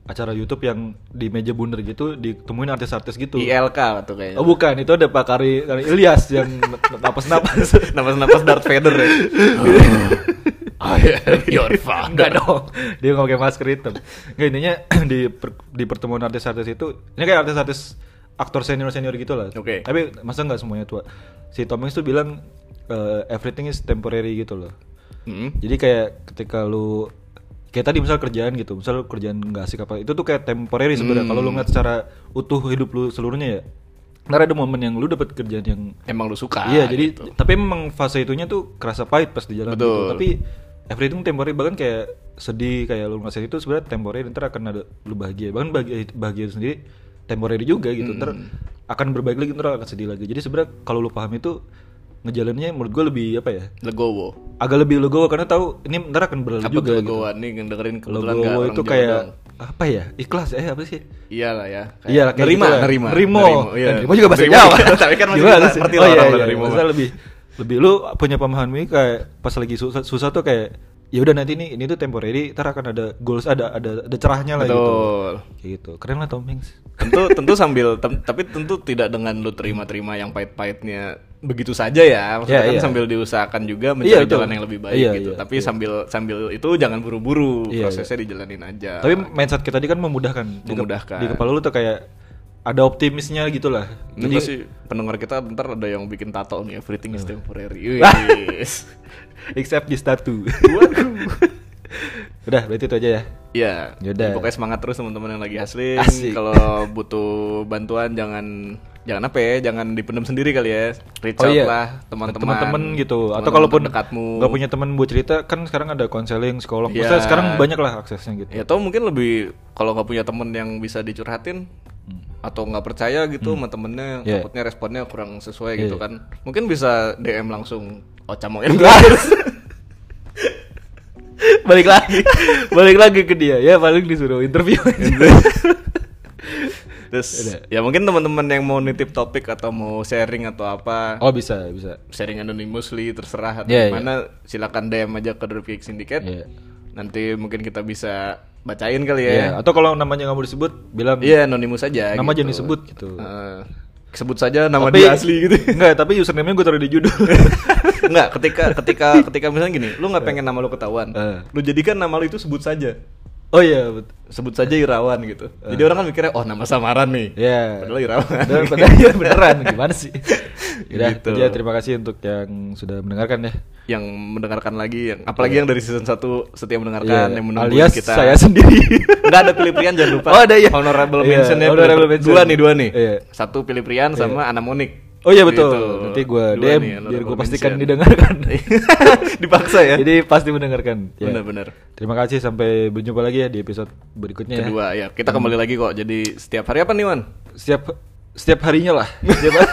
Speaker 1: acara YouTube yang di meja bundar gitu ditemuin artis-artis gitu
Speaker 2: ILK tuh kayaknya.
Speaker 1: oh bukan itu ada Pak Kari, Kari Ilyas yang *laughs* napas-napas
Speaker 2: *laughs* Napas-napas Darth Vader
Speaker 1: *laughs*
Speaker 2: ya.
Speaker 1: Oh,
Speaker 2: I
Speaker 1: iya.
Speaker 2: *laughs* am *laughs* your
Speaker 1: Enggak dong dia nggak pakai masker hitam nggak intinya *clears throat* di per- di pertemuan artis-artis itu ini kayak artis-artis aktor senior senior gitu lah
Speaker 2: Oke.
Speaker 1: tapi masa nggak semuanya tua si Tom Hanks tuh bilang eh, everything is temporary gitu loh
Speaker 2: Hmm.
Speaker 1: Jadi kayak ketika lu kayak tadi misal kerjaan gitu, misal lu kerjaan nggak asik apa, itu tuh kayak temporary sebenarnya. Kalau
Speaker 2: Hmm.
Speaker 1: lu ngeliat secara utuh hidup lu seluruhnya ya, ntar ada momen yang lu dapat kerjaan yang
Speaker 2: Emang lu suka.
Speaker 1: iya. Jadi
Speaker 2: gitu.
Speaker 1: tapi memang fase itunya tuh kerasa pahit pas di jalan. gitu.
Speaker 2: Betul.
Speaker 1: Tapi everything temporary bahkan kayak sedih kayak lu ngasih itu sebenarnya temporary ntar akan ada lu bahagia bahkan bahagia, bahagia itu sendiri temporary juga gitu ntar
Speaker 2: Hmm.
Speaker 1: akan berbaik lagi ntar akan sedih lagi jadi sebenarnya kalau lu paham itu ngejalannya menurut gue lebih apa ya
Speaker 2: legowo.
Speaker 1: agak lebih legowo karena tahu ini ntar akan berlalu
Speaker 2: Apa
Speaker 1: juga
Speaker 2: tuh
Speaker 1: gitu.
Speaker 2: legowan nih yang dengerin kebetulan nggak
Speaker 1: Legowo
Speaker 2: orang
Speaker 1: itu
Speaker 2: Jawa
Speaker 1: kayak
Speaker 2: doang.
Speaker 1: apa ya? Ikhlas eh apa sih?
Speaker 2: Iyalah ya. kayak
Speaker 1: Iya, lah, kayak
Speaker 2: nerima,
Speaker 1: gitu lah.
Speaker 2: nerima,
Speaker 1: Nerimo.
Speaker 2: iya.
Speaker 1: Dan nerimo juga bahasa
Speaker 2: Nerimo,
Speaker 1: Jawa.
Speaker 2: *laughs* Tapi kan masih
Speaker 1: Gimana
Speaker 2: bisa
Speaker 1: sih?
Speaker 2: ngerti
Speaker 1: Oh,
Speaker 2: lah
Speaker 1: iya,
Speaker 2: orang
Speaker 1: iya,
Speaker 2: nerimo.
Speaker 1: maksudnya lebih lebih lu punya pemahaman ini kayak pas lagi susah, susah tuh kayak ya udah nanti ini ini tuh temporary, ntar akan ada goals ada ada ada cerahnya lah gitu.
Speaker 2: Betul.
Speaker 1: Kayak gitu. Keren lah Tom Hanks.
Speaker 2: Tentu tentu sambil tem- tapi tentu tidak dengan lu terima-terima yang pahit-pahitnya begitu saja ya. Maksudnya
Speaker 1: Iya,
Speaker 2: kan
Speaker 1: iya.
Speaker 2: sambil diusahakan juga mencari
Speaker 1: betul.
Speaker 2: jalan yang lebih baik
Speaker 1: Iya,
Speaker 2: gitu.
Speaker 1: iya,
Speaker 2: tapi sambil sambil itu jangan buru-buru,
Speaker 1: Iya,
Speaker 2: prosesnya dijalanin aja.
Speaker 1: Tapi mindset kita tadi kan memudahkan. Di kep-
Speaker 2: Iya. Memudahkan.
Speaker 1: Di, kepala lu tuh kayak ada optimisnya gitu lah.
Speaker 2: Ini
Speaker 1: Jadi
Speaker 2: pasti pendengar kita bentar ada yang bikin tato nih everything is temporary.
Speaker 1: *laughs*
Speaker 2: Yes.
Speaker 1: *laughs* except this tattoo. *laughs* udah, berarti itu aja ya.
Speaker 2: Iya.
Speaker 1: Yaudah.
Speaker 2: Jadi Pokoknya semangat terus teman-teman yang lagi hustling.
Speaker 1: Asik. *laughs*
Speaker 2: Kalau butuh bantuan jangan jangan apa ya, jangan dipendam sendiri kali ya. Reach out lah teman-teman.
Speaker 1: Oh, iya. Nah, teman-teman gitu atau
Speaker 2: teman-teman
Speaker 1: kalaupun
Speaker 2: dekatmu.
Speaker 1: nggak punya teman buat cerita kan sekarang ada konseling psikolog
Speaker 2: Iya.
Speaker 1: Maksudnya sekarang banyak lah aksesnya
Speaker 2: *laughs*
Speaker 1: gitu
Speaker 2: Ya atau mungkin lebih kalau nggak punya temen yang bisa dicurhatin atau nggak percaya gitu sama
Speaker 1: Hmm.
Speaker 2: temennya
Speaker 1: Iya.
Speaker 2: takutnya responnya kurang sesuai
Speaker 1: Iya.
Speaker 2: gitu kan mungkin bisa DM langsung "Oh, Ocha
Speaker 1: *laughs*
Speaker 2: mau endorse
Speaker 1: balik lagi *laughs* balik lagi ke dia ya paling disuruh interview
Speaker 2: terus
Speaker 1: Iya.
Speaker 2: ya mungkin teman-teman yang mau nitip topik atau mau sharing atau apa
Speaker 1: oh bisa bisa
Speaker 2: sharing anonymously terserah atau
Speaker 1: Iya,
Speaker 2: gimana silakan DM aja ke Dropkick Syndicate
Speaker 1: Iya.
Speaker 2: nanti mungkin kita bisa bacain kali ya
Speaker 1: Iya, atau kalau namanya nggak mau disebut bilang
Speaker 2: iya anonimus aja
Speaker 1: nama
Speaker 2: gitu.
Speaker 1: jangan disebut gitu
Speaker 2: Eh, sebut saja nama
Speaker 1: Tapi-
Speaker 2: dia asli
Speaker 1: *laughs*
Speaker 2: gitu
Speaker 1: Enggak, tapi username-nya gue taruh di
Speaker 2: *laughs*
Speaker 1: judul
Speaker 2: Enggak, ketika ketika ketika misalnya gini, lu nggak pengen nama lu ketahuan.
Speaker 1: Eh.
Speaker 2: Lu jadikan nama lu itu sebut saja.
Speaker 1: oh iya betul
Speaker 2: Sebut saja Irawan gitu.
Speaker 1: Eh.
Speaker 2: Jadi orang kan mikirnya, "Oh, nama samaran nih."
Speaker 1: Ya.
Speaker 2: Padahal Irawan. *laughs*
Speaker 1: Padahal padahal ya beneran gimana sih? Udah,
Speaker 2: Gitu.
Speaker 1: ya, terima kasih untuk yang sudah mendengarkan ya.
Speaker 2: yang mendengarkan lagi yang apalagi yang dari season 1 setia mendengarkan
Speaker 1: Iya,
Speaker 2: yang menunggu
Speaker 1: alias
Speaker 2: kita.
Speaker 1: saya sendiri.
Speaker 2: *laughs* Enggak ada pilih prian jangan lupa.
Speaker 1: Oh, ada, iya.
Speaker 2: Honorable
Speaker 1: Iya,
Speaker 2: mention ya.
Speaker 1: honorable
Speaker 2: pilih-
Speaker 1: mention.
Speaker 2: Dua nih, dua nih.
Speaker 1: Iya.
Speaker 2: Satu pilih prian sama Anamonik.
Speaker 1: Oh iya betul.
Speaker 2: Gitu.
Speaker 1: Nanti gue
Speaker 2: Dua
Speaker 1: DM
Speaker 2: nih, honorable
Speaker 1: biar gue pastikan
Speaker 2: mention.
Speaker 1: didengarkan.
Speaker 2: *laughs* Iya. Dipaksa ya.
Speaker 1: Jadi pasti mendengarkan. Ya.
Speaker 2: Benar-benar.
Speaker 1: Terima kasih sampai berjumpa lagi ya di episode berikutnya. ya.
Speaker 2: Kedua ya. Kita kembali lagi kok. Jadi setiap hari apa nih, Wan?
Speaker 1: Setiap setiap harinya lah.
Speaker 2: Setiap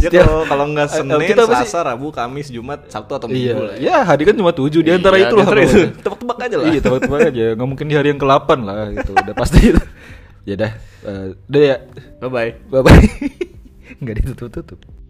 Speaker 2: Ya
Speaker 1: Setiap-
Speaker 2: kalau kalau nggak
Speaker 1: Eh, eh,
Speaker 2: Senin,
Speaker 1: kita apa sih?
Speaker 2: Selasa, Rabu, Kamis, Jumat, Sabtu atau
Speaker 1: Iya,
Speaker 2: Minggu lah ya.
Speaker 1: ya hari kan cuma tujuh di antara
Speaker 2: Iya,
Speaker 1: itu lah.
Speaker 2: di antara itu.
Speaker 1: pokoknya.
Speaker 2: Tebak-tebak aja lah.
Speaker 1: Iya, tebak-tebak aja. Nggak mungkin di hari yang ke-8 lah itu. Udah pasti *laughs* itu. Ya dah. Eh, udah ya.
Speaker 2: Bye bye.
Speaker 1: *laughs* Bye bye. Enggak ditutup-tutup.